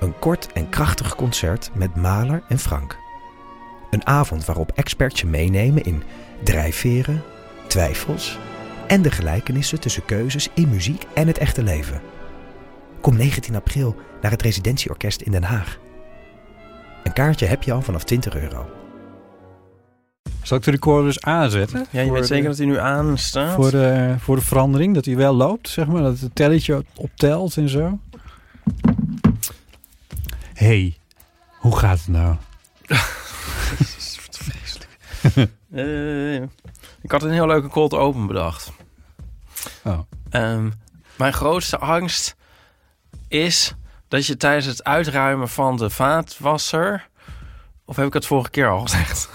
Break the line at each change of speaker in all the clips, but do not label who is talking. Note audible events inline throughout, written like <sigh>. Een kort en krachtig concert met Maler en Frank. Een avond waarop experts je meenemen in drijfveren, twijfels en de gelijkenissen tussen keuzes in muziek en het echte leven. Kom 19 april naar het Residentieorkest in Den Haag. Een kaartje heb je al vanaf 20 euro.
Zal ik de recorder dus aanzetten?
Ja, je
Voor
weet
de-
zeker dat hij nu aan staat.
Voor de, voor de verandering, dat hij wel loopt, zeg maar. Dat het telletje optelt en zo. hey, hoe gaat het nou?
Eh, ik had een heel leuke cold open bedacht.
Oh.
Ehm, mijn grootste angst is dat je tijdens het uitruimen van de vaatwasser... Of heb ik het vorige keer al gezegd?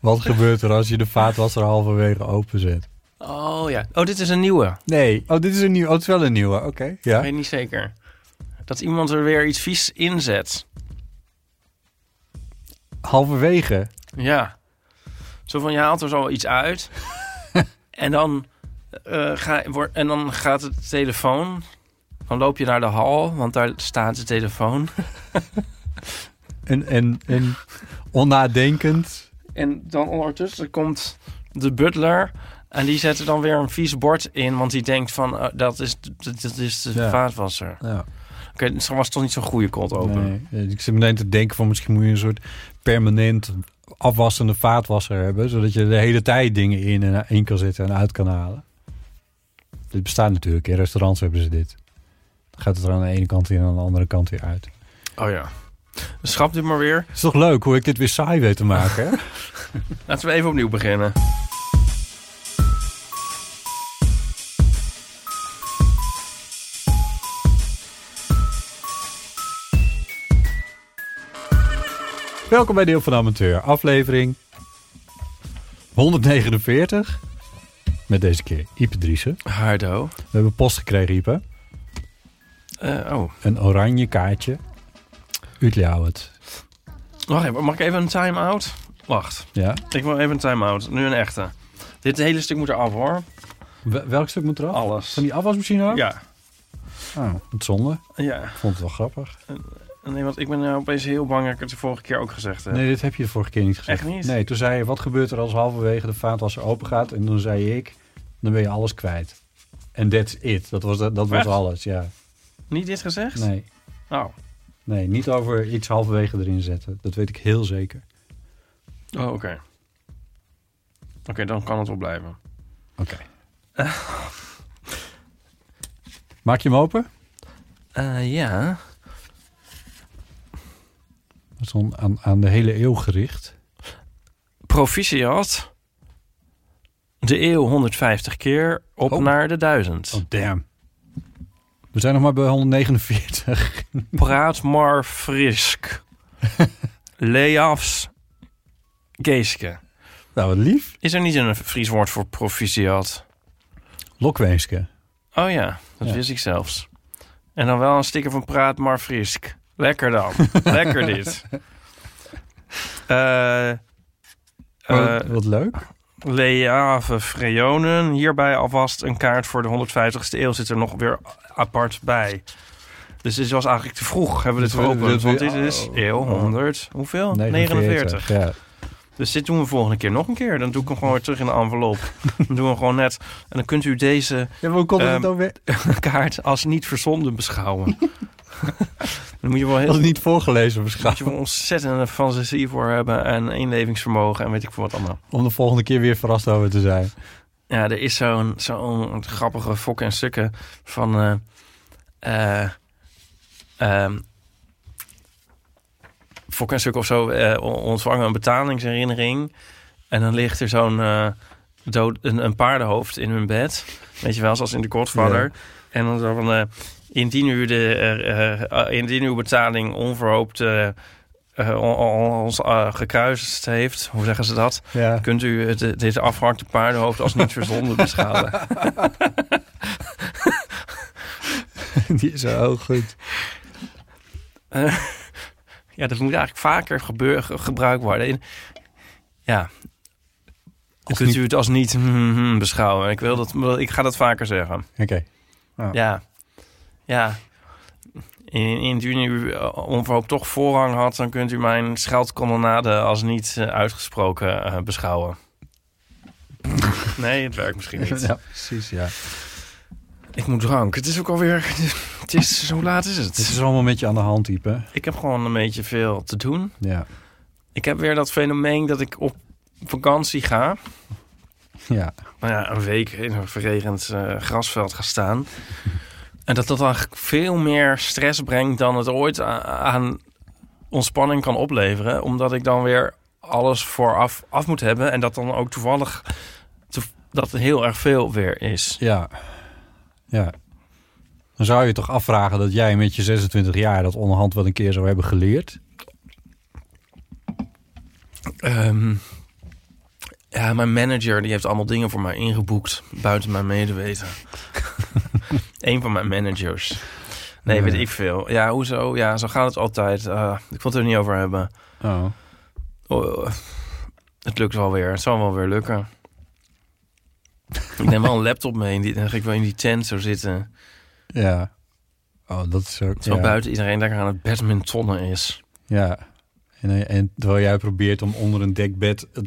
Wat gebeurt er als je de vaatwasser halverwege openzet?
Oh ja. Oh, dit is een nieuwe.
Nee. Oh, dit is een nieuwe. Oh, het is wel een nieuwe. Oké.
Ik
Ja.
weet niet zeker. Dat iemand er weer iets vies inzet.
Halverwege.
Ja. Zo van, je haalt er zo iets uit. <laughs> en, dan, eh, ga, wor- en dan gaat het telefoon. Dan loop je naar de hal, want daar staat de telefoon.
En, en, en onnadenkend.
En dan ondertussen komt de butler. En die zet er dan weer een vies bord in. Want die denkt van, eh, dat, is, dat, dat is de
Ja.
vaatwasser.
Ja.
Oké, dat was toch niet zo'n goede cold open.
Nee, eh, ik zit meteen te denken van misschien moet je een soort permanent afwassende vaatwasser hebben. Zodat je de hele tijd dingen in en in kan zetten en uit kan halen. Dit bestaat natuurlijk. In restaurants hebben ze dit. Dan gaat het er aan de ene kant in en aan de andere kant weer uit.
Oh ja. Dus schrap dit maar weer.
Het is toch leuk hoe ik dit weer saai weet te maken. hè?
Laten we even opnieuw beginnen.
Welkom bij Deel van de Amateur, aflevering 149. Met deze keer Ipe Driessen.
Hardo.
We hebben post gekregen, Ipe.
Eh, oh.
Een oranje kaartje. Utliauwet.
Wacht even, mag ik even een time-out? Wacht,
Ja.
ik wil even een time-out. Nu een echte. Dit hele stuk moet eraf hoor.
Wel- Welk stuk moet eraf?
Alles.
Van die afwasmachine ook?
Ja,
Ah, het zonde.
ja.
Ik vond het wel grappig.
Nee, want ik ben nou opeens heel bang dat ik het de vorige keer ook gezegd heb.
Nee, dit heb je de vorige keer niet gezegd.
Echt niet?
Nee, toen zei je, wat gebeurt er als halverwege de vaatwasser open gaat? En toen zei ik, dan ben je alles kwijt. En that's it. Dat was, dat was
Echt?
alles, ja.
Niet dit gezegd?
Nee.
Oh.
nee, niet over iets halverwege erin zetten. Dat weet ik heel zeker.
Oh, oké. Oké, dan kan het wel blijven.
Oké. <laughs> Maak je hem open?
Eh, ja.
Dat is dan aan, aan de hele eeuw gericht.
Proficiat. De eeuw 150 keer op
Oh.
naar de 1000.
Oh, damn. We zijn nog maar bij 149.
Praat maar frisk. Leafs. Geeske.
<laughs> Nou, wat lief.
Is er niet een Fries woord voor proficiat?
Lokweenske.
Oh ja, dat
Ja.
wist ik zelfs. En dan wel een sticker van Praat maar Frisk. Lekker dan. <laughs> Lekker dit. Eh eh
Oh, Wat- wat leuk.
Leave Freonen. Hierbij alvast een kaart voor de 150ste eeuw zit er nog weer apart bij. Dus dit was eigenlijk te vroeg. Hebben we dit
Dit wil-
geopend?
dit wil-
Want dit is
oh.
eeuw 100. Hoeveel? 49.
Ja.
Dus dit doen we volgende keer nog een keer. Dan doe ik hem gewoon weer terug in de
<laughs>
envelop. Dan doen we gewoon net. En dan kunt u deze
Ja, maar hoe komt het
Ehm,
dan weer?
kaart als niet verzonden beschouwen. dan moet je wel
Dat
heel
is niet voorgelezen
moet je
beschouwd.
wel ontzettende fantasie voor hebben en inlevingsvermogen en weet ik veel wat allemaal.
Om de volgende keer weer verrast over te zijn.
Ja, er is zo'n zo'n grappige fokken en stukken van... eh, eh, ehm, fokken en stukken of zo eh, on- ontvangen een betalingsherinnering. En dan ligt er zo'n eh, dood, een, een paardenhoofd in hun bed. Weet je wel, zoals in de Godfather. En dan zo van, eh, indien u de eh, eh, eh, indien uw betaling onverhoopt eh, eh, on- on- ons eh, gekruist heeft, hoe zeggen ze dat?
Ja.
Kunt u het, eh, dit afgehakte paardenhoofd als niet verzonden beschouwen?
<laughs> Die is heel goed.
<laughs> Ja, dat moet eigenlijk vaker gebeur, ge- gebruikt worden. In- ja. Kunt
niet-
u het als niet hmm, hmm, beschouwen? Ik, wil dat, ik ga dat vaker zeggen.
Oké.
Ja. Ja. In- Indien u eh, onverhoopt toch voorrang had, dan kunt u mijn scheldkolonnade als niet eh, uitgesproken eh, <laughs> beschouwen. Nee, het werkt misschien niet.
Ja, precies, ja.
Ik moet drank. Het is ook alweer. <laughs> Het is, hoe laat is
Dit
het?
is allemaal met je aan de hand, type.
Ik heb gewoon een beetje veel te doen.
Ja.
Ik heb weer dat fenomeen dat ik op vakantie ga.
Ja.
nou ja, een week in een verregend eh, grasveld gaan staan. En dat dat dan veel meer stress brengt dan het ooit a- aan ontspanning kan opleveren. Omdat ik dan weer alles vooraf af moet hebben. En dat dan ook toevallig toe- dat heel erg veel weer is.
Ja. Ja. Dan zou je toch afvragen dat jij met je 26 jaar dat onderhand wel een keer zou hebben geleerd.
Ehm, ja, mijn manager die heeft allemaal dingen voor mij ingeboekt. Buiten mijn
<laughs>
medeweten. Eén van mijn managers. Nee,
Ja.
weet ik veel. Ja, hoezo? Ja, zo gaat het altijd. Eh, ik wil het er niet over hebben.
Oh.
Oh, eh, het lukt wel weer. Het zal wel weer lukken. ik neem wel een laptop mee. en die- Dan ga ik wel in die tent zo zitten.
Ja. Oh, dat is ook...
Terwijl
ja.
buiten iedereen lekker aan het badmintonnen is.
Ja. En, eh, en terwijl jij probeert om onder een dekbed... Het,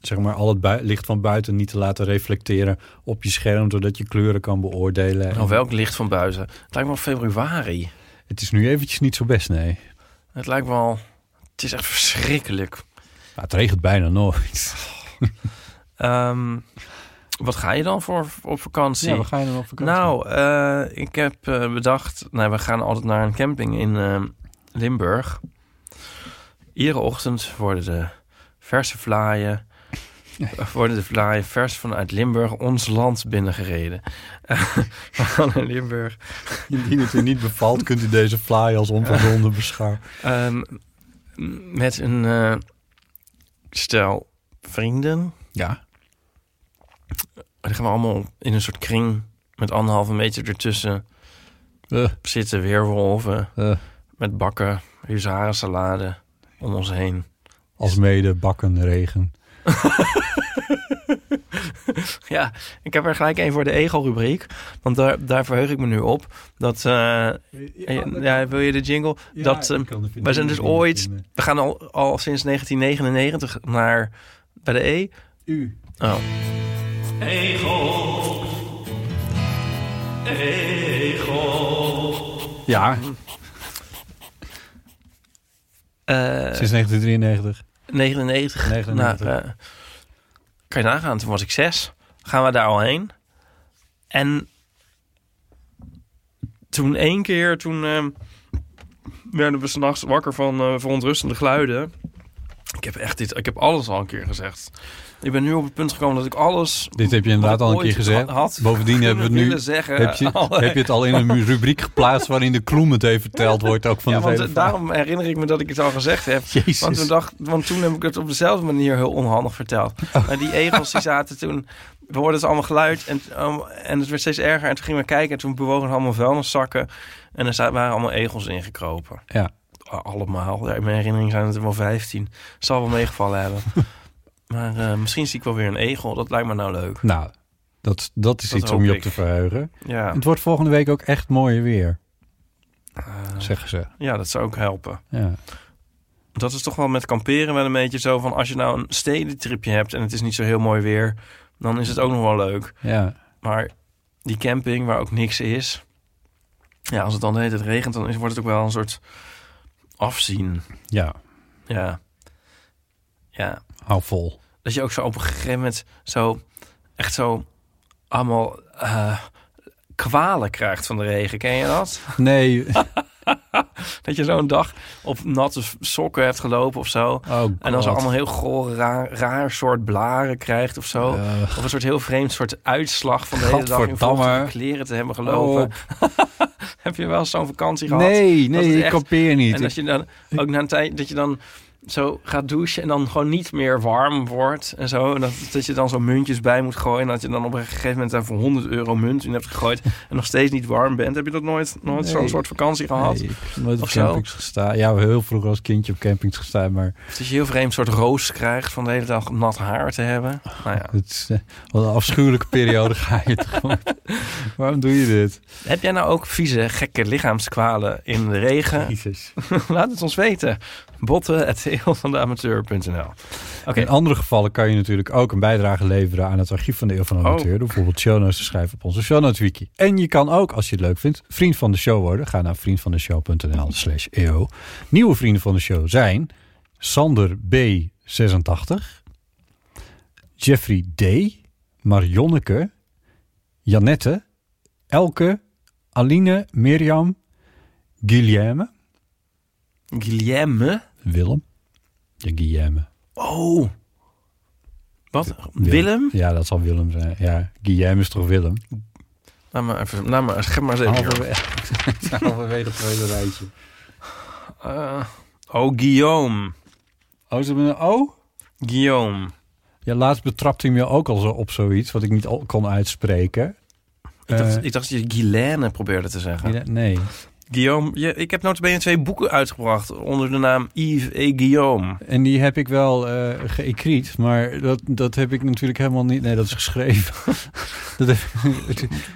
zeg maar al het bui- licht van buiten niet te laten reflecteren op je scherm... zodat je kleuren kan beoordelen.
Nou, welk licht van buiten. Het lijkt wel februari.
Het is nu eventjes niet zo best, nee.
Het lijkt wel... Het is echt verschrikkelijk.
Maar het regent bijna <laughs> nooit.
Ehm, wat ga je dan voor op vakantie?
ga je dan op vakantie?
<laughs> nou, eh, ik heb eh, bedacht... Nou, we gaan altijd naar een camping in eh, Limburg. Iedere ochtend worden de verse vlaaien...
<laughs>
worden de vlaaien vers vanuit Limburg ons land
<laughs>
binnengereden. we gaan naar Limburg.
Indien het u niet bevalt, kunt u deze fly als <laughs> onverzonden beschouwen.
Ehm, m- met een eh, stel vrienden.
Ja.
Dan gaan we allemaal in een soort kring... met anderhalve meter ertussen...
Eh,
zitten weerwolven
eh,
met bakken, huzarensalade om ons heen. <laughs>
als mede bakken regen.
Ja, ik heb er gelijk één voor de ego-rubriek. Want daar, daar verheug ik me nu op. Dat, eh, ja, wil je de jingle? dat, eh, wij zijn dus ooit- we gaan al, al sinds 1999 naar, bij de E.
U.
Oh.
Ja,
Eh,
sinds 1993.
99.
99.
Naar, eh, kan je nagaan, toen was ik zes. Gaan we daar al heen. En toen één keer, toen eh, werden we s'nachts wakker van eh, verontrustende geluiden. Ik heb echt dit, ik heb alles al een keer gezegd. Ik ben nu op het punt gekomen dat ik alles.
Dit heb je inderdaad
wat ik
al een keer
ooit
gezegd.
Had,
Bovendien hebben we het
willen
nu...
zeggen, eh,
Heb je,
alle-
heb je het al in een rubriek geplaatst waarin de kloem het even verteld wordt ook van
ja,
het
want
hele
eh,
verhaal?
daarom herinner ik me dat ik het al gezegd heb.
Jezus.
Want toen, dacht, want toen heb ik het op dezelfde manier heel onhandig verteld.
Oh.
En die egels die zaten toen... We hoorden het allemaal geluid en, um, en het werd steeds erger. En toen gingen we kijken en toen bewogen er allemaal vuilniszakken. En er za- waren allemaal egels ingekropen.
Ja.
A- Allemaal. Ja, in mijn herinnering zijn het er wel 15. Zal wel meegevallen
<laughs>
hebben. maar eh, misschien zie ik wel weer een egel. Dat lijkt me nou leuk.
Nou, dat, dat is
Dat
iets
hoop
om je op
ik.
te verheugen.
Ja,
Het wordt volgende week ook echt mooi weer,
eh,
zeggen ze.
ja dat zou ook helpen.
Ja.
Dat is toch wel met kamperen wel een beetje zo van... als je nou een stedentripje hebt en het is niet zo heel mooi weer... dan is het ook nog wel leuk.
ja.
Maar die camping waar ook niks is... ja, als het dan de hele tijd regent... dan is, wordt het ook wel een soort afzien.
Ja,
Ja. Ja.
hou vol.
Dat je ook zo op een gegeven moment zo... echt zo allemaal <laughs> eh, kwalen krijgt van de regen. Ken je dat?
Nee,
dat je zo'n dag op natte sokken hebt gelopen of zo.
oh
En dan zo allemaal heel goor, raar, raar soort blaren krijgt of zo.
Eh,
Of een soort heel vreemd soort uitslag van de hele dag in
Gadverdamme. Oh.
vochtige kleren te hebben gelopen. <laughs> Heb je wel eens zo'n vakantie gehad?
nee,
Dat is
nee, ik
echt-
kampeer niet.
En dat je dan ook na een tijd dat je dan zo gaat douchen en dan gewoon niet meer warm wordt en zo. En dat, dat je dan zo muntjes bij moet gooien. En dat je dan op een gegeven moment daar voor 100 euro munt in hebt gegooid. En nog steeds niet warm bent. Heb je dat nooit, nooit
Nee.
zo'n soort vakantie gehad?
Nee, ik heb nooit op
Of zo?
campings gestaan. Ja, we heel vroeg als kindje op campings gestaan, maar
Of dat je heel vreemd soort roos krijgt van de hele dag nat haar te hebben. Nou ja.
het is, eh, wat een afschuwelijke periode <laughs> ga je tegemoet. Waarom doe je dit?
Heb jij nou ook vieze, gekke lichaamskwalen in de regen?
Jezus.
<laughs> Laat het ons weten. Botten, het heel van de amateur.nl. Oké.
In andere gevallen kan je natuurlijk ook een bijdrage leveren aan het archief van de Eeuw van de
Oh.
Amateur. Door bijvoorbeeld show notes te schrijven op onze show notes wiki. En je kan ook, als je het leuk vindt, vriend van de show worden. Ga naar vriendvandeshow.nl slash eeuw. Nieuwe vrienden van de show zijn Sander B86, Jeffrey D, Marionneke, Janette, Elke, Aline, Mirjam, Guillaume,
Guillaume.
Willem. Ja, Guillaume.
Oh. Wat? Willem?
Ja, dat zal Willem zijn. Ja, Guillaume is toch <laughs> Willem?
Laat maar even, laat maar, schep maar eens even.
Halverwege het tweede rijtje.
Eh, oh, Guillaume.
Oh, ze hebben een O?
Guillaume.
Ja, laatst betrapte hij me ook al zo op zoiets wat ik niet al kon uitspreken.
Ik dacht,
Eh.
ik dacht dat je Guilaine probeerde te zeggen.
Nee.
Guillaume, je, ik heb notabene twee boeken uitgebracht onder de naam Yves E. Guillaume.
En die heb ik wel eh geëcriet, maar dat, dat heb ik natuurlijk helemaal niet... Nee, dat is geschreven. <laughs> dat heb,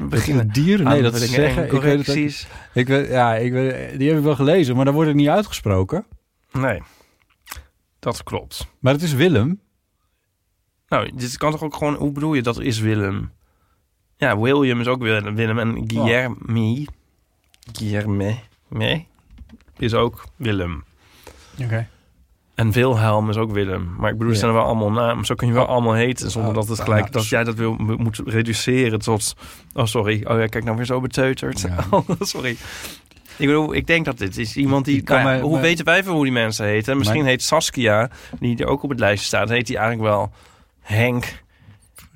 Beginnen.
dieren? Nee, dat is
Aanvullingen en
zeggen. Ik weet het ook-
correcties.
ik weet, ja, ik weet, die heb ik wel gelezen, maar daar wordt het niet uitgesproken.
Nee, dat klopt.
Maar het is Willem.
Nou, dit kan toch ook gewoon... Hoe bedoel je, dat is Willem? Ja, William is ook Willem. Willem en Guillerme... Guillerme... me, Is ook Willem.
Oké.
En Wilhelm is ook Willem. Maar ik bedoel, het
Ja.
zijn wel allemaal namen. Zo kun je wel allemaal heten zonder
Oh,
dat het gelijk...
nou,
dat jij dat wil, moet reduceren tot... Oh, sorry. Oh ja, kijk nou weer zo beteuterd.
Ja.
Oh, <laughs> sorry. Ik bedoel, ik denk dat dit is iemand die...
Ik kan
nou ja,
mij-
hoe
mij-
weten wij veel hoe die mensen heten? Misschien
Mijn-
heet Saskia, die er ook op het lijstje staat... heet die eigenlijk wel Henk...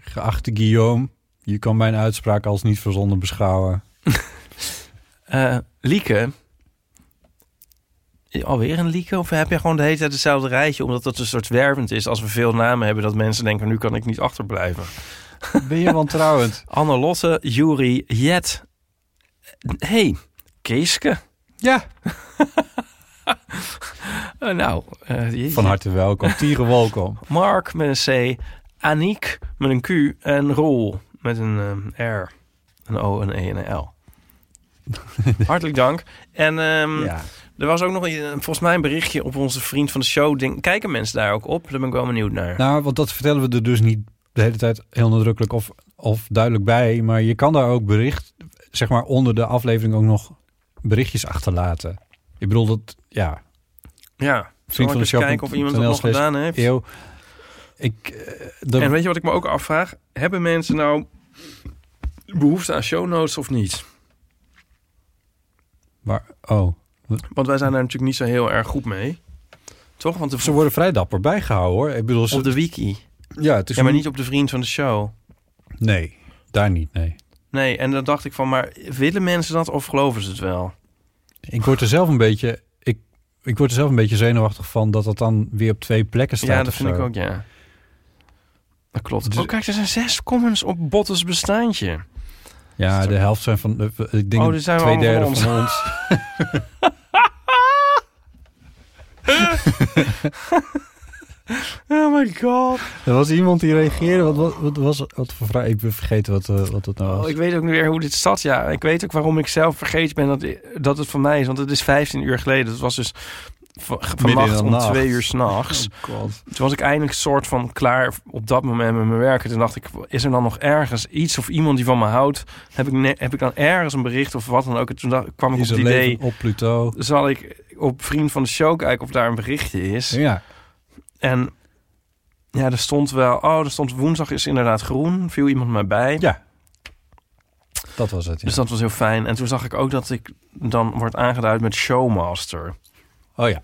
Geachte Guillaume, je kan mijn uitspraak als niet verzonnen beschouwen.
Eh, Lieke. Alweer een Lieke? Of heb je gewoon de hele tijd hetzelfde rijtje? Omdat dat een soort wervend is als we veel namen hebben... dat mensen denken, nu kan ik niet achterblijven.
Ben je wantrouwend?
Annelotte, Juri, Jet. hey, Keeske.
ja.
<laughs> Eh, nou, eh, je-
Van harte welkom. Tieren
<laughs>
welkom.
Mark met een C. Aniek met een Q. En Roel met een ehm, R. Een O, een E en een L. <laughs> Hartelijk dank. En ehm,
Ja.
er was ook nog een- volgens mij een berichtje op onze vriend van de show. Ding. Kijken mensen daar ook op? Daar ben ik wel benieuwd naar.
Nou, want dat vertellen we er dus niet de hele tijd heel nadrukkelijk of, of duidelijk bij. Maar je kan daar ook bericht, zeg maar onder de aflevering ook nog berichtjes achterlaten. Ik bedoel dat, ja,
ja,
vriend van de show.
kijken of iemand dat
NL
nog
slash
gedaan heeft.
eeuw. Ik, eh, dat-
En weet je wat ik me ook afvraag? Hebben mensen nou behoefte aan show notes of niet?
waar, oh,
Want wij zijn daar natuurlijk niet zo heel erg goed mee. Toch? Want de,
ze worden vrij dapper bijgehouden hoor. Ik bedoel, ze,
op de wiki.
ja, het is
Ja, maar
een-
niet op de vriend van de show.
Nee, daar niet, nee.
Nee, en dan dacht ik van, maar willen mensen dat of geloven ze het wel?
Ik word er zelf een beetje, ik, ik word er zelf een beetje zenuwachtig van dat dat dan weer op twee plekken staat.
ja, dat
of
vind
zo.
ik ook, ja. Dat klopt.
Dus-
oh, kijk, er zijn zes comments op Bottes bestaantje.
Ja, de helft zijn van, de- ik denk
Oh, dus zijn we
twee
allemaal
derde
van
van ons.
<laughs> Oh my god.
Er was iemand die reageerde. Wat, wat, wat was wat voor vraag? Ik ben vergeten wat, eh, wat dat nou was.
Oh, ik weet ook niet weer hoe dit zat, ja. Ik weet ook waarom ik zelf vergeten ben dat, dat het van mij is. Want het is 15 uur geleden. Dat was dus van, vannacht
de
om
nacht.
twee uur s'nachts.
god.
Toen was ik eindelijk soort van klaar op dat moment met mijn werk. En toen dacht ik, is er dan nog ergens iets of iemand die van me houdt? Heb ik, ne- heb ik dan ergens een bericht of wat dan ook? En toen dacht, kwam ik
Is
op
er
het idee,
leven op Pluto?
zal ik op Vriend van de Show kijken of daar een berichtje is?
Ja.
En ja, er stond wel, oh, er stond woensdag is inderdaad groen. Viel iemand mij bij.
Ja. Dat was het, ja.
Dus dat was heel fijn. En toen zag ik ook dat ik dan word aangeduid met showmaster.
Oh ja.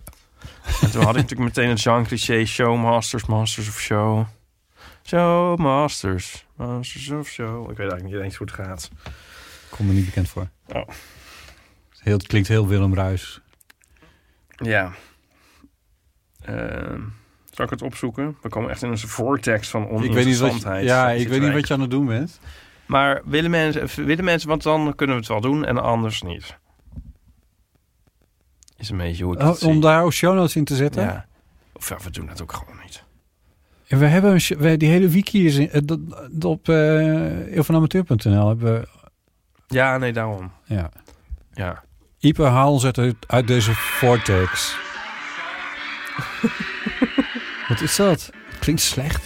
En toen had ik <laughs> natuurlijk meteen het genre-cliché showmasters, masters of show. Showmasters, masters of show. Ik weet eigenlijk niet eens hoe het gaat.
Kom me niet bekend voor.
Oh.
Heel, het klinkt heel Willem Ruis.
Ja. Ehm, zal ik het opzoeken? We komen echt in een vortex van
ik weet niet wat
oninteressantheid.
je, ja, ik
zitten
weet
wij.
niet wat je aan het doen bent.
Maar willen mensen, willen mensen, want dan kunnen we het wel doen en anders niet. Is een beetje hoe ik het
Oh, om
zie.
daar ook show notes in te zetten?
Ja. Of ja, we doen het ook gewoon niet.
En we hebben een, sh- we, die hele wiki is in, eh, dat- dat op eh eeuwvanamateur.nl hebben we...
Ja, nee, daarom.
Ja.
Ja.
Ieper, haal ons uit, uit deze vortex. <laughs> Wat is dat? Klinkt slecht.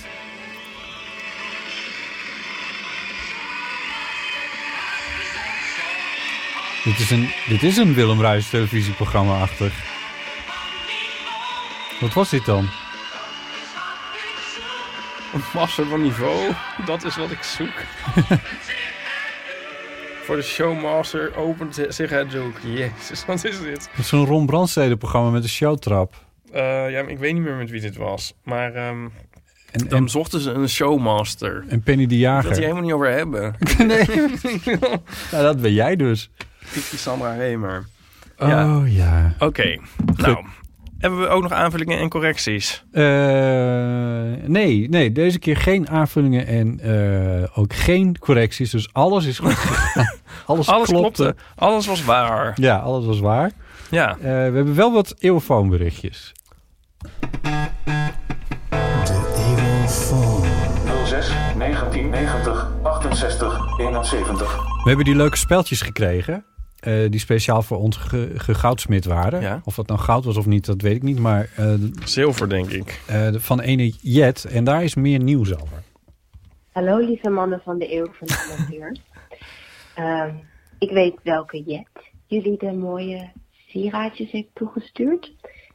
Dit is een, dit is een Willem Ruijs televisieprogramma-achtig. Wat was dit dan?
Een massa van niveau, dat is wat ik zoek. <laughs> Voor de showmaster opent zich het doek. Jezus, wat is dit?
Dat is Zo'n Ron Brandstede-programma met een showtrap.
Eh, ja, ik weet niet meer met wie dit was. Maar ehm,
En,
dan
en,
zochten ze een showmaster.
en Penny de
Dat die
Jager.
helemaal niet over hebben.
Nou, dat ben jij dus.
Typisch Sandra Remer. Ja.
Oh ja.
Oké, nou. Hebben we ook nog aanvullingen en correcties?
Eh, nee, nee, deze keer geen aanvullingen en eh, ook geen correcties. Dus alles is <laughs> goed. gegaan. alles,
Alles
klopte.
klopte. Alles was waar.
Ja, alles was waar.
Ja.
Eh, we hebben wel wat eeuwfoonberichtjes.
06 1990 68 71.
We hebben die leuke speltjes gekregen. eh, die speciaal voor ons ge- gegoudsmit waren.
Ja.
Of dat nou goud was of niet, dat weet ik niet. Maar eh,
Zilver, denk ik.
eh, van ene Jet. En daar is meer nieuws over.
Hallo lieve mannen van de eeuw van de natuur. Ehm, ik weet welke jet jullie de mooie sieraadjes heeft toegestuurd.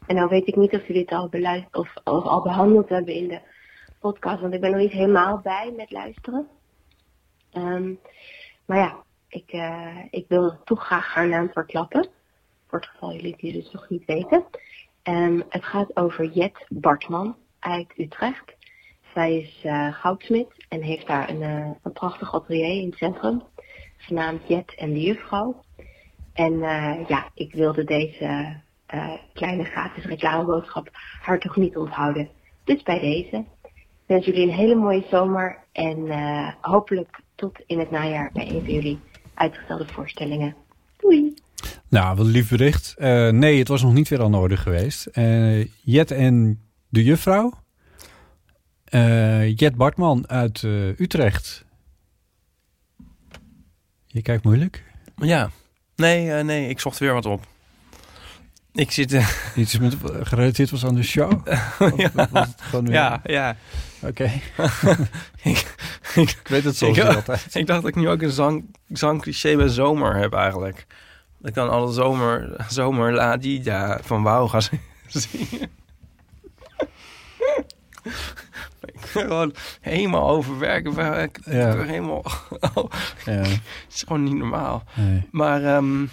En nou weet ik niet of jullie het al, beluisterd of, of al behandeld hebben in de podcast, want ik ben nog niet helemaal bij met luisteren. Ehm, maar ja, ik, eh, ik wil toch graag haar naam verklappen. Voor het geval jullie die dus nog niet weten. Ehm, het gaat over Jet Bartman uit Utrecht. Zij is eh, goudsmid en heeft daar een, eh, een prachtig atelier in het centrum. Genaamd Jet en de Juffrouw. En eh, ja, ik wilde deze eh, kleine gratis reclameboodschap haar toch niet onthouden. Dus bij deze. Ik wens jullie een hele mooie zomer. En eh, hopelijk tot in het najaar bij een van jullie uitgestelde voorstellingen. Doei!
Nou, wat een lief bericht. Eh, nee, het was nog niet weer aan de orde geweest. Eh, Jet en de juffrouw. Eh, Jet Bartman uit eh, Utrecht. Je kijkt moeilijk.
Ja. Nee, eh, nee, ik zocht weer wat op. Ik zit... eh,
Iets met, gerelateerd was aan de <laughs> show. Of was het gewoon weer-
<laughs> ja, ja.
Oké. ik weet het soms
ik-
niet altijd.
Ik dacht dat ik nu ook een zang, zangcliché bij zomer heb eigenlijk. Dat ik dan alle zomer, zomer la di da van Wauw ga <laughs> zingen. ik ben gewoon helemaal overwerken. maar Ik, ik
Ja.
ben helemaal...
<laughs>
<laughs>
Ja,
het <laughs> is gewoon niet normaal.
nee.
Maar ehm,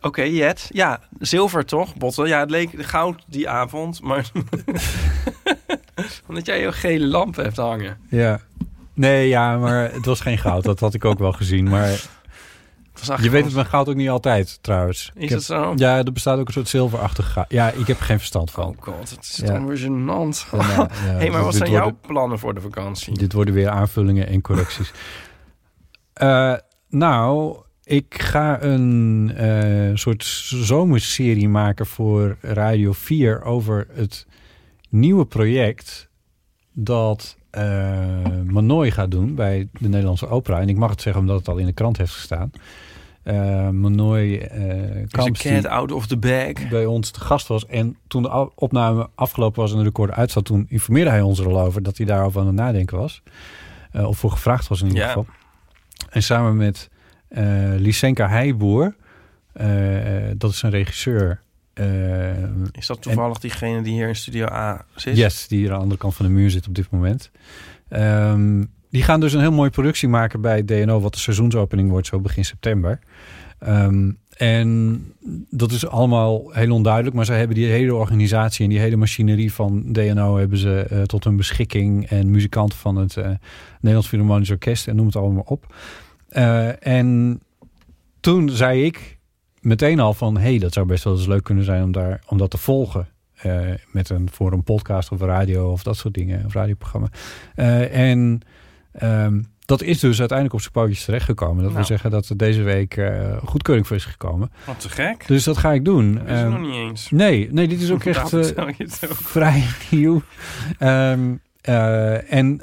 oké, Jet. Ja, zilver toch, Botten? Ja, het leek goud die avond, maar... <laughs> Omdat jij een gele lamp hebt hangen.
ja. Nee, ja, maar het was geen goud. Dat had ik ook wel gezien. Maar
Het was echt
je weet het
gewoon-
met goud ook niet altijd, trouwens. Ik
Is
heb-
dat zo?
Ja, er bestaat ook een soort zilverachtig goud. Ja, ik heb er geen verstand van.
Oh god, het is
Ja.
dan weer gênant.
En, eh, ja,
Hé, Oh, hey, maar
dit-
wat
dit
zijn jouw
worden-
plannen voor de vakantie?
Dit worden weer aanvullingen en correcties. Eh, nou, ik ga een eh, soort zomerserie maken voor Radio 4 over het nieuwe project dat eh Manoy gaat doen bij de Nederlandse Opera. En ik mag het zeggen omdat het al in de krant heeft gestaan. Eh Manoy eh
Is een
Kamps, die-
cat out of the bag?
bij ons te gast was. En toen de a- opname afgelopen was en de recorder uit zat, toen informeerde hij ons er al over dat hij daarover aan het nadenken was. Eh, of voor gevraagd was in ieder
Ja.
geval. En samen met eh Lisenka Heijboer, eh, dat is een regisseur. eh,
Is dat toevallig diegene die hier in Studio A zit?
yes, die hier aan de andere kant van de muur zit op dit moment. Ehm, Die gaan dus een heel mooie productie maken bij DNO, wat de seizoensopening wordt zo begin september. Ehm, en dat is allemaal heel onduidelijk, maar ze hebben die hele organisatie en die hele machinerie van DNO hebben ze eh, tot hun beschikking. En muzikanten van het eh, Nederlands Philharmonisch Orkest en noem het allemaal op. Eh, en toen zei ik meteen al van, hé, hey, dat zou best wel eens leuk kunnen zijn om, daar, om dat te volgen. Eh, met een, voor een podcast of radio of dat soort dingen, of radioprogramma. Eh, en ehm, dat is dus uiteindelijk op zijn pootjes terechtgekomen. Dat wil
Nou.
zeggen dat er deze week eh, goedkeuring voor is gekomen.
Wat te gek.
Dus dat ga ik doen.
Dat is het
Ehm,
nog niet eens.
nee, nee, dit is ook echt
Daarom
eh,
vertel je het ook.
<laughs> vrij nieuw. Ehm, eh, en